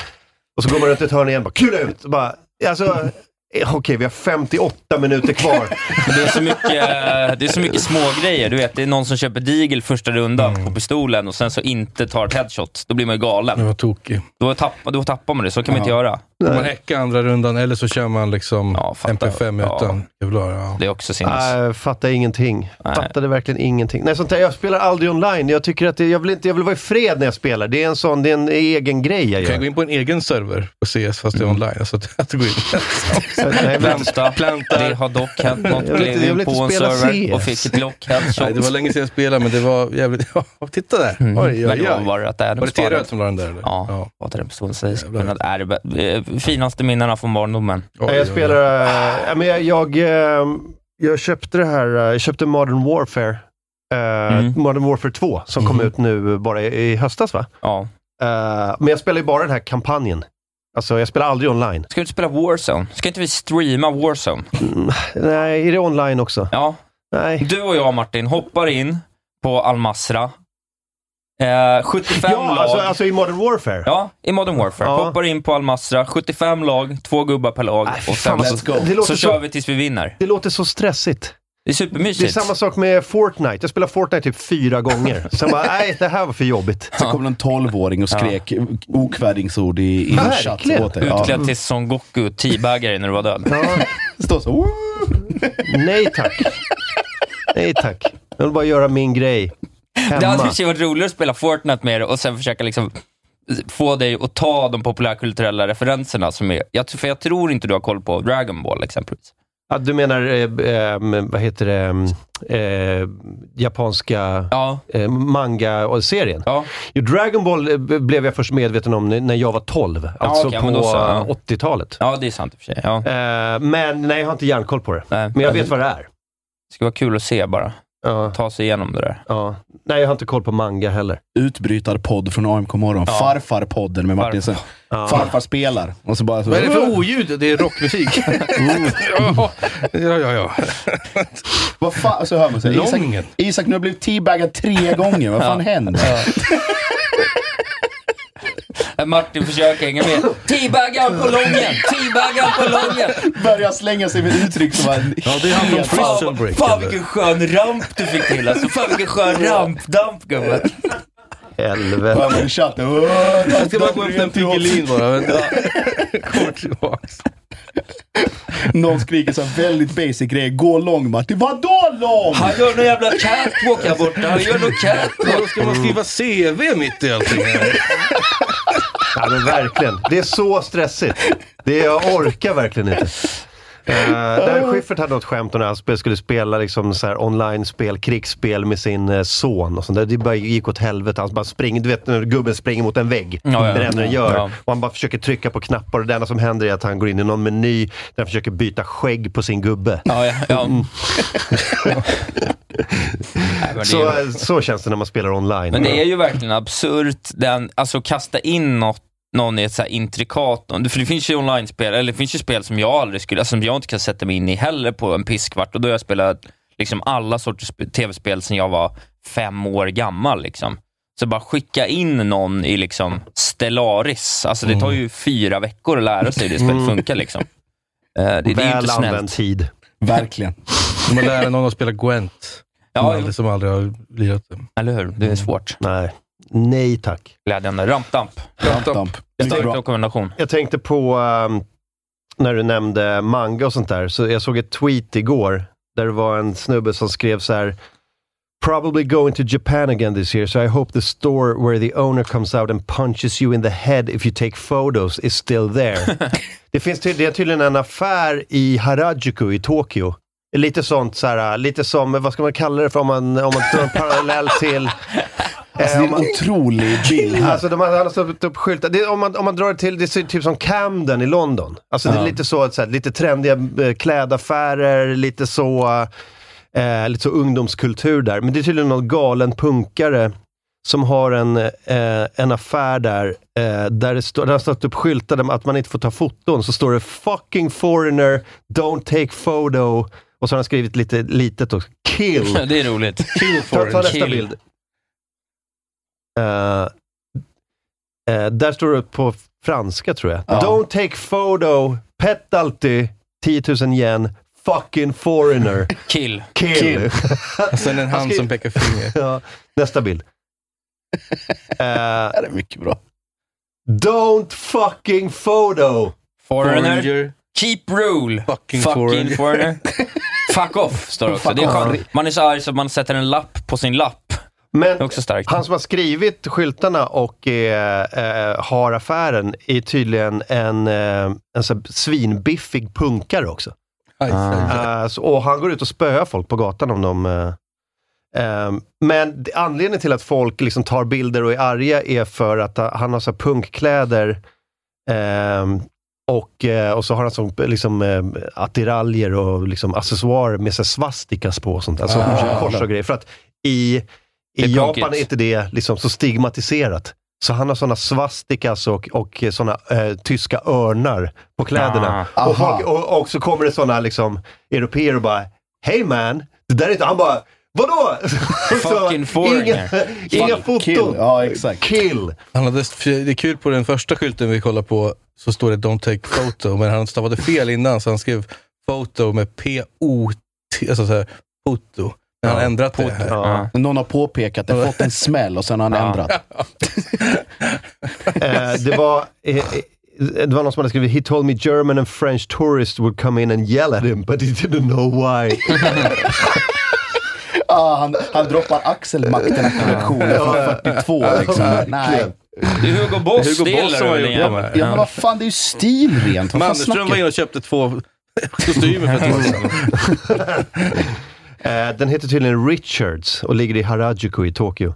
Och så går man runt ett hörn igen och bara kula i huvudet. Och Bara, alltså, eh, okej, vi har 58 minuter kvar.
Men det, är så mycket, eh, det är så mycket små grejer. Du vet, det är någon som köper digel första rundan på pistolen och sen så inte tar ett headshot. Då blir man ju
Det
galen.
var tokig.
Då tappar, då tappar man det. Så kan man inte göra.
Man häckar andra rundan eller så kör man liksom
Ja, fattar.
MP5
Ja.
utan kevlar. Ja.
Det är också sinnes.
Nej, fattade Äh, ingenting.
Nej.
Fattade verkligen ingenting. Nej, sånt där, jag spelar aldrig online. Jag, tycker att det, jag, vill inte, jag vill vara i fred när jag spelar. Det är en sån, det är en egen grej jag
Kan jag gå
gör.
in på en egen server på CS fast
Mm.
det är online? Alltså att att gå in
Nej, men-
Planta.
plantar.
Det har dock hänt något.
Jag vill inte-
Blev
jag vill
in på
inte
en
spela
server
CS.
och fick ett block
Nej, det
headshot. Mm.
var länge sedan jag spelade, men det var jävligt... Ja, titta där! Oj,
Men
oj,
då
oj.
var det att Adam
Var det T-Röd
sparade.
som la den där? Eller?
Ja,
ja.
vad den personen sägs. Men det är det bä- eh, finaste minnena från barndomen.
Oj,
Nej,
oj,
jag
oj.
spelar... eh, ja, men jag, jag, eh, jag köpte det här, eh, jag köpte Modern Warfare. eh,
Mm.
Modern Warfare 2 som kom ut nu bara i, i höstas va?
Ja.
Eh, men jag spelar ju bara den här kampanjen. Alltså jag spelar aldrig online.
Ska vi inte spela Warzone? Ska inte vi streama Warzone?
Nej, är det online också?
Ja.
Nej.
Du och jag Martin hoppar in på Al Masra. Eh, 75
Ja,
lag.
alltså, alltså i Modern Warfare.
Ja, i Modern Warfare.
Ja.
Hoppar in på Al Masra, 75 lag, två gubbar per lag.
Nej, fy
och
fan,
sen
vad-
så,
det låter
så
så-
kör vi tills vi vinner.
Det låter så stressigt.
Det är
Det är
supermysigt.
samma sak med Fortnite. Jag spelar Fortnite typ fyra gånger. Sen bara, nej, det här var för jobbigt.
Så kom det en tolvåring och skrek okvädingsord i, i en chatt
Verkligen.
åt dig. Ja.
Utklädd till Son Goku, teabagare när du var död.
Ja,
Står så. "Woo!"
nej tack. Nej tack. Jag vill bara göra min grej.
Det hade i och
Hemma.
för sig varit roligare att spela Fortnite med det och sen försöka liksom få dig att ta de populärkulturella referenserna. Som är, jag, för jag tror inte du har koll på Dragon Ball exempelvis.
Ja, du menar, eh, eh, vad heter det, ehm, eh, japanska
Ja.
eh, manga-serien?
Ja.
Jo, Dragon Ball eh, blev jag först medveten om när jag var 12. Alltså
okej,
på
men då så, ja.
80-talet.
ja, det är sant i och för sig. Ja.
Eh, men nej, jag har inte järnkoll på det.
Nej.
Men jag vet vad det är.
Det skulle vara kul att se bara.
Ja,
Ta sig igenom det där.
ja. Nej, jag har inte koll på manga heller.
Utbrytarpodd från AMK morgon.
Ja.
Farfarpodden med Martin sen. Farfar spelar. Och så bara så.
Vad är det för oljud? Det är rockmusik. ja, ja, ja. ja.
Vad fan? Så hör man sig. Isak,
Lången.
Isak, nu har jag blivit teabaggad tre gånger. Vad fan händer?
Äh, Martin försöker hänga med. Teabaggar på lången! Teabaggar på lången!
Börjar slänga sig med uttryck som var
Ja, det är han från Prison Break.
Fan
eller?
vilken skön ramp du fick till alltså. Fan vilken skön rampdamp gubben.
Helvete.
en chatt. Jag
Jag ska bara gå efter en piggelin bara. vänta. Kommer tillbaks.
Någon skriker så här väldigt basic grejer. Gå lång Martin. Vadå lång?
Han gör någon jävla catwalk här borta. Han gör någon catwalk.
Men Då ska man skriva CV mitt i allting. här.
Ja, men verkligen. Det är så stressigt. Det är, jag orkar verkligen inte. Uh, där Schiffert hade något skämt om när han spe- skulle spela liksom så här online-spel, krigsspel med sin eh, son. Och sånt där. Det bara gick åt helvete. Han bara springer, du vet när gubben springer mot en vägg.
Ja, ja.
Det är det enda den gör.
Ja.
Och han bara försöker trycka på knappar och det enda som händer är att han går in i någon meny där han försöker byta skägg på sin gubbe.
Ja, ja, ja. Nej, Mm. men det är-
Så, eh, så känns det när man spelar online.
Men det är ju verkligen absurt, den, alltså kasta in något, någon i ett så här intrikat, för det finns ju online-spel, eller det finns ju spel som jag aldrig skulle, alltså som jag inte kan sätta mig in i heller på en piskvart, och då har jag spelat liksom alla sorters sp- tv-spel sedan jag var fem år gammal. Liksom. Så bara skicka in någon i liksom Stellaris, alltså det tar ju fyra veckor att lära sig hur det spelet funkar. Liksom. Eh, Det, det är ju
Väl
inte
använd
snällt.
tid.
Verkligen.
Om Man lär någon att spela Gwent.
Ja,
Som, aldrig, som aldrig har lirat det.
eller hur? Det är svårt.
Nej. Nej tack.
Glädjande. Rampdamp.
Rampdamp.
Stark
Mycket bra.
rekommendation.
Jag tänkte på ehm, när du nämnde manga och sånt där. Så jag såg ett tweet igår där det var en snubbe som skrev så här Probably going to Japan again this year, so I hope the store where the owner comes out and punches you in the head if you take photos is still there. det finns tyd- det är tydligen en affär i Harajuku i Tokyo. Lite sånt, så här, lite som, vad ska man kalla det för om man, om man drar en parallell till...
Alltså,
eh,
det
om
är en otrolig bild här.
Alltså de har, han har stått upp skyltar. Det, är- om, man, om man drar det till, det ser typ som Camden i London. Alltså det är lite så, att så här, lite trendiga eh, klädaffärer, lite så, eh, lite så ungdomskultur där. Men det är tydligen någon galen punkare som har en, eh, en affär där, eh, där det står, där har stått upp skyltar där att man inte får ta foton. Så står det “Fucking foreigner, don't take photo” och så har han skrivit lite litet och “Kill”.
Det är roligt.
Ta, ta nästa
Kill.
bild. Eh, eh, där står det på franska tror jag.
Ja.
Don't take photo, penalty, 10 000 yen, fucking foreigner,
Kill.
kill.
Kill.
Och sen en hand som pekar finger.
ja, nästa bild. Eh,
Det här är mycket bra.
don't fucking photo.
Foreigner. Keep rule.
Fucking foreigner.
foreigner. Fuck off, står det också. Det är skönt. Man är så arg så att man sätter en lapp på sin lapp. Det är
Men
också starkt.
han som har skrivit skyltarna och eh, eh, har affären är tydligen en, eh, en så här svinbiffig punkare också.
Aj, aj.
Eh, så, och han går ut och spöar folk på gatan om de... eh, eh, men d- anledningen till att folk liksom tar bilder och är arga är för att ha- han har så här punkkläder ehm, och, eh, och så har han så, liksom, eh, attiraljer och liksom, accessoarer med så här svastikas på och sånt. Alltså
Ah.
kors och grejer. För att i,
Det är
i Japan
punkigt.
är inte det liksom så stigmatiserat. Så han har sådana svastikas och, och sådana eh, tyska örnar på kläderna.
Ah.
Och,
Aha.
folk, och, och så kommer det sådana liksom, europeer och bara Hey man! Det där är inte... Han bara Vadå?
Fucking
Inga,
foreigner.
inga
Fuck,
foton.
kill. Ja, exakt.
Kill.
Han hade, det är kul, på den första skylten vi kollade på så står det “Don't take photo”, men han stavade fel innan så han skrev “photo” med P-O-T, alltså så här, foto. Men han har ändrat det här.
Ja.
Någon har påpekat det, fått en smäll och sen har han
Ja.
ändrat.
Eh, det, var, eh, eh, det var någon som hade skrivit “He told me German and French tourists would come in and yell at him, but he didn't know why”.
Ah, han, han droppar axelmakterna på lektionen från 42. Liksom. Nej.
Det är Hugo Boss
Hugo
det gillar
Boss som har
du
gjort
igen.
de här.
Ja, men vad fan, det är ju stilrent. Vad fan
Mannerström var
snackar
inne och köpte två kostymer för ett år sedan.
Eh, den heter tydligen Richards och ligger i Harajuku i Tokyo. Eh,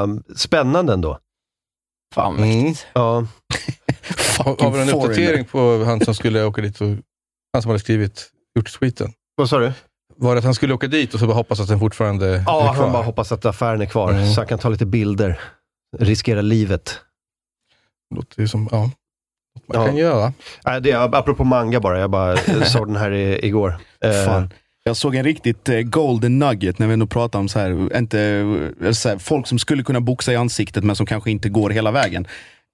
Ehm,
spännande ändå.
Fan, vad
Mm.
mäktigt.
Ja.
Har har vi en
foreigner.
uppdatering på han som skulle åka dit och, han som hade skrivit, gjort tweeten?
Vad sa du?
Var det att han skulle åka dit och så bara hoppas att den fortfarande
Ja,
är kvar?
han bara hoppas att affären är kvar
Mm.
så han kan ta lite bilder. Riskera livet.
Låter ju som, ja. Något man
Ja.
kan göra.
Äh, det, är- apropå manga bara, jag bara eh, såg den här i, igår. Eh,
Fan. Jag såg en riktigt eh, golden nugget när vi ändå pratar om så här, inte, eh, så här, folk som skulle kunna boxa i ansiktet men som kanske inte går hela vägen.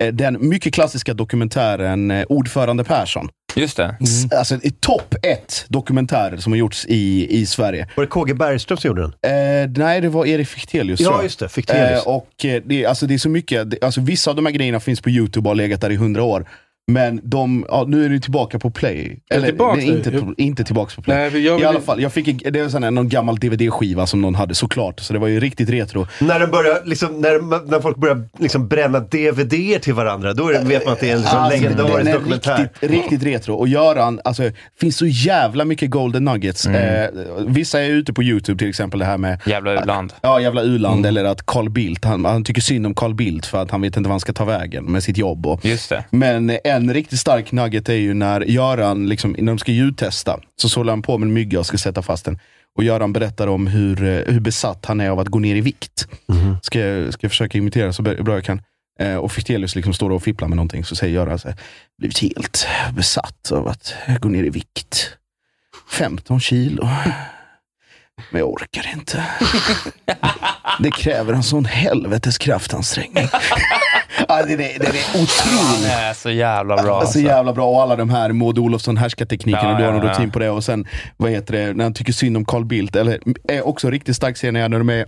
eh, den mycket klassiska dokumentären eh, Ordförande Persson.
Just det.
S-
Mm.
Alltså i topp ett dokumentärer som har gjorts i, i Sverige.
Var det KG Bergström som gjorde den?
Eh, nej, det var Erik Fichtelius.
Ja,
tror jag.
just det, Fichtelius.
Eh, och eh, det, är- alltså, det är så mycket. Det, alltså, vissa av de här grejerna finns på YouTube och har legat där i hundra år. Men de, ja, nu är det tillbaka på Play.
Är det
Eller
tillbaka
det är inte,
nu?
to- inte tillbaka på Play.
Nej, för jag
I
vill-
alla fall, jag fick en- det var sån här, någon gammal DVD-skiva som någon hade såklart. Så det var ju riktigt retro.
När, den börjar, liksom, när, när folk börjar liksom bränna dvd till varandra, då är det, vet man att det är en liksom,
Alltså, den
legendarisk
är
dokumentär.
Riktigt, riktigt retro. Och Göran, alltså, det finns så jävla mycket golden nuggets. Eh, vissa är ute på YouTube till exempel det här med...
Jävla u-land. Mm.
Ja, jävla u-land. Eller att Carl Bildt, han, han tycker synd om Carl Bildt för att han vet inte vad han ska ta vägen med sitt jobb. Och,
Just det.
men en riktigt stark nugget är ju när Göran, liksom, när de ska ljudtesta, så sålar han på med en mygga och ska sätta fast den. Och Göran berättar om hur, eh, hur besatt han är av att gå ner i vikt. Ska, jag- ska jag försöka imitera så bra jag kan. Eh, och Fichtelius liksom står och fipplar med någonting, så säger Göran så här, blivit helt besatt av att gå ner i vikt. 15 kilo. Men jag orkar inte. Det kräver en sån helvetes kraftansträngning. ja, det, det, det är
Han
otroligt.
är så jävla bra.
Så
Alltså.
jävla bra. Och alla de här Maud Olofsson härskarteknikerna,
Ja,
du har
ja,
en
ja.
rutin på det. Och sen, vad heter det, när han tycker synd om Carl Bildt. Eller, är också en riktigt stark scen är när de är,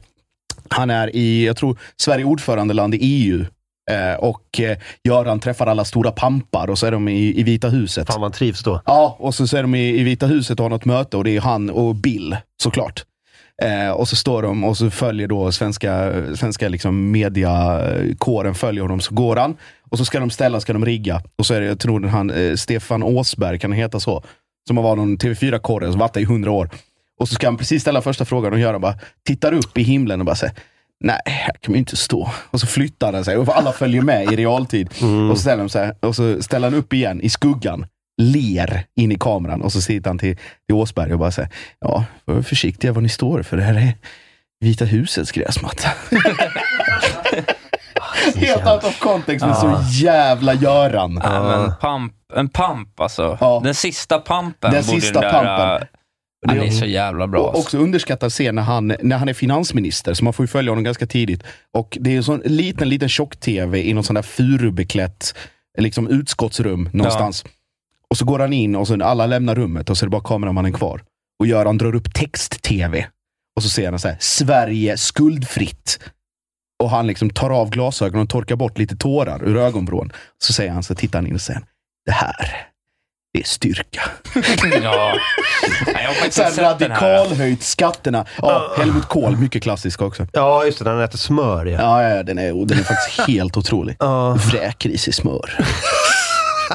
han är i, jag tror, Sverige är ordförandeland i EU. Eh, och eh, Göran träffar alla stora pampar och så är de i, i Vita huset.
Fan, man trivs då.
Ja, och så, så är de i, i Vita huset och har något möte och det är han och Bill, såklart. Eh, och så står de och så följer då svenska, svenska liksom mediakåren följer honom, så går han. Och så ska de ställa, ska de rigga. Och så är det, jag tror den han, eh, Stefan Åsberg, kan han heta så? Som har varit någon TV4-korre, som varit där i hundra år. Och så ska han precis ställa första frågan och göra bara, tittar upp i himlen och bara säger Nej, här kan man ju inte stå. Och så flyttar han sig och alla följer med i realtid. Och, så ställer de sig, och så ställer han upp igen i skuggan, ler in i kameran och så sitter han till, till Åsberg och bara säger Ja, var försiktiga vad ni står för. Det här är Vita husets gräsmatta. Helt out of context, men så jävla Göran.
Ja, men pump, en pump alltså. Den sista pumpen
Den
borde
sista
den där...
pumpen.
äh, Han är så jävla bra.
Och
alltså.
också underskattad scen när han, när han är finansminister, så man får ju följa honom ganska tidigt. Och det är en sån liten, liten tjock-tv i någon sån där furubeklätt liksom utskottsrum någonstans. Och så går han in och så alla lämnar rummet och så är det bara kameramannen kvar. Och Göran drar upp text-tv. Och så ser han så här, Sverige skuldfritt. Och han liksom tar av glasögonen och torkar bort lite tårar ur ögonvrån. Så säger han, så tittar han in och säger, det här, det är styrka.
Ja. Nej, jag har faktiskt
Så här
inte sett den
radikal
här.
höjt skatterna. Ja, Helmut Kohl, mycket klassisk också.
Ja, just det. När den äter smör. Ja.
Ja, ja, den är, den är faktiskt helt otrolig. Vräkris i smör.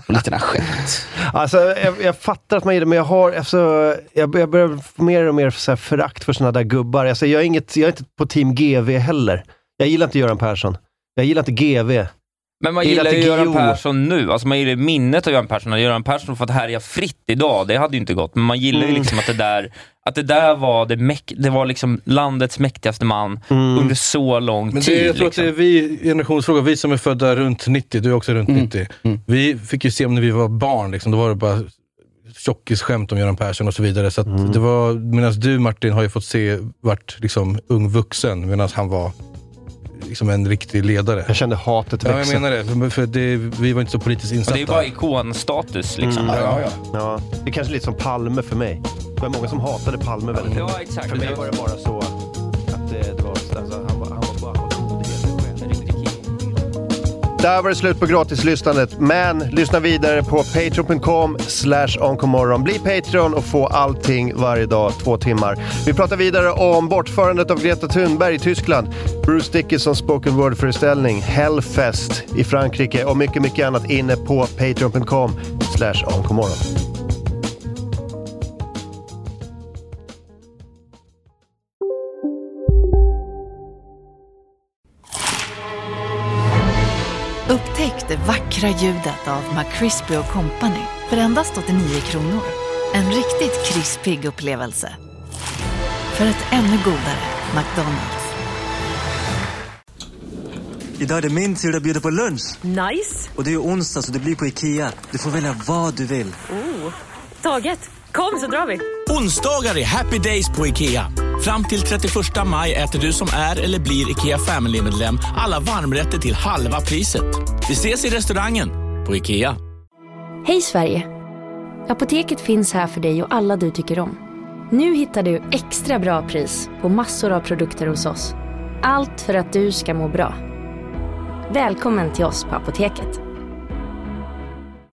Och lite assiett.
Alltså, jag, jag fattar att man gillar det, men jag har... Alltså, jag, jag börjar få mer och mer så här, förakt för såna där gubbar. Alltså, jag, är inget, jag är inte på team GV heller. Jag gillar inte Göran Persson. Jag gillar inte GV.
Men man
Jag
gillar ju
inte
Göran
Guillou.
Persson nu. Alltså man gillar ju minnet av Göran Persson. Hade Göran Persson fått härja fritt idag, det hade ju inte gått. Men man gillar ju
Mm.
liksom att det där, att det där var, det mäk- det var liksom landets mäktigaste man under så lång
Mm. Men det,
tid.
jag tror
liksom.
att det är vi, generationsfråga, vi som är födda runt 90, du är också
Mm.
runt 90. Vi fick ju se om när vi var barn, liksom, då var det bara tjockisskämt om Göran Persson och så vidare. Så att
Mm.
det var, medan du Martin har ju fått se, vart liksom ung vuxen, medan han var liksom en riktig ledare.
Jag kände hatet
Ja,
växa.
jag menar det. För- För det, vi var inte så politiskt
Och
insatta.
det är bara ikonstatus liksom.
Mm.
Ja, ja.
Ja, det är kanske lite som Palme för mig. Det var många som hatade Palme väldigt mycket.
Ja, exakt.
För mig var det bara så att eh, det var... Alltså, han, var han var bara...
Där var det slut på gratislyssnandet, men lyssna vidare på patreon.com slash onkomorron. Bli Patreon och få allting varje dag, två timmar. Vi pratar vidare om bortförandet av Greta Thunberg i Tyskland, Bruce Dickinsons spoken word-föreställning, Hellfest i Frankrike och mycket, mycket annat inne på patreon.com slash onkomorron.
Upptäck det vackra ljudet av McCrispy Company för endast 89 kronor. En riktigt krispig upplevelse. För ett ännu godare McDonalds.
Idag är det min tur att bjuda på lunch.
Nice.
Och det är ju onsdag så det blir på IKEA. Du får välja vad du vill.
Oh. Taget. Kom så drar vi.
Onsdagar är happy days på IKEA.
Fram till 31 maj äter du som är eller blir IKEA Family-medlem alla varmrätter till halva priset. Vi ses i restaurangen på IKEA.
Hej Sverige! Apoteket finns här för dig och alla du tycker om. Nu hittar du extra bra pris på massor av produkter hos oss. Allt för att du ska må bra. Välkommen till oss på Apoteket.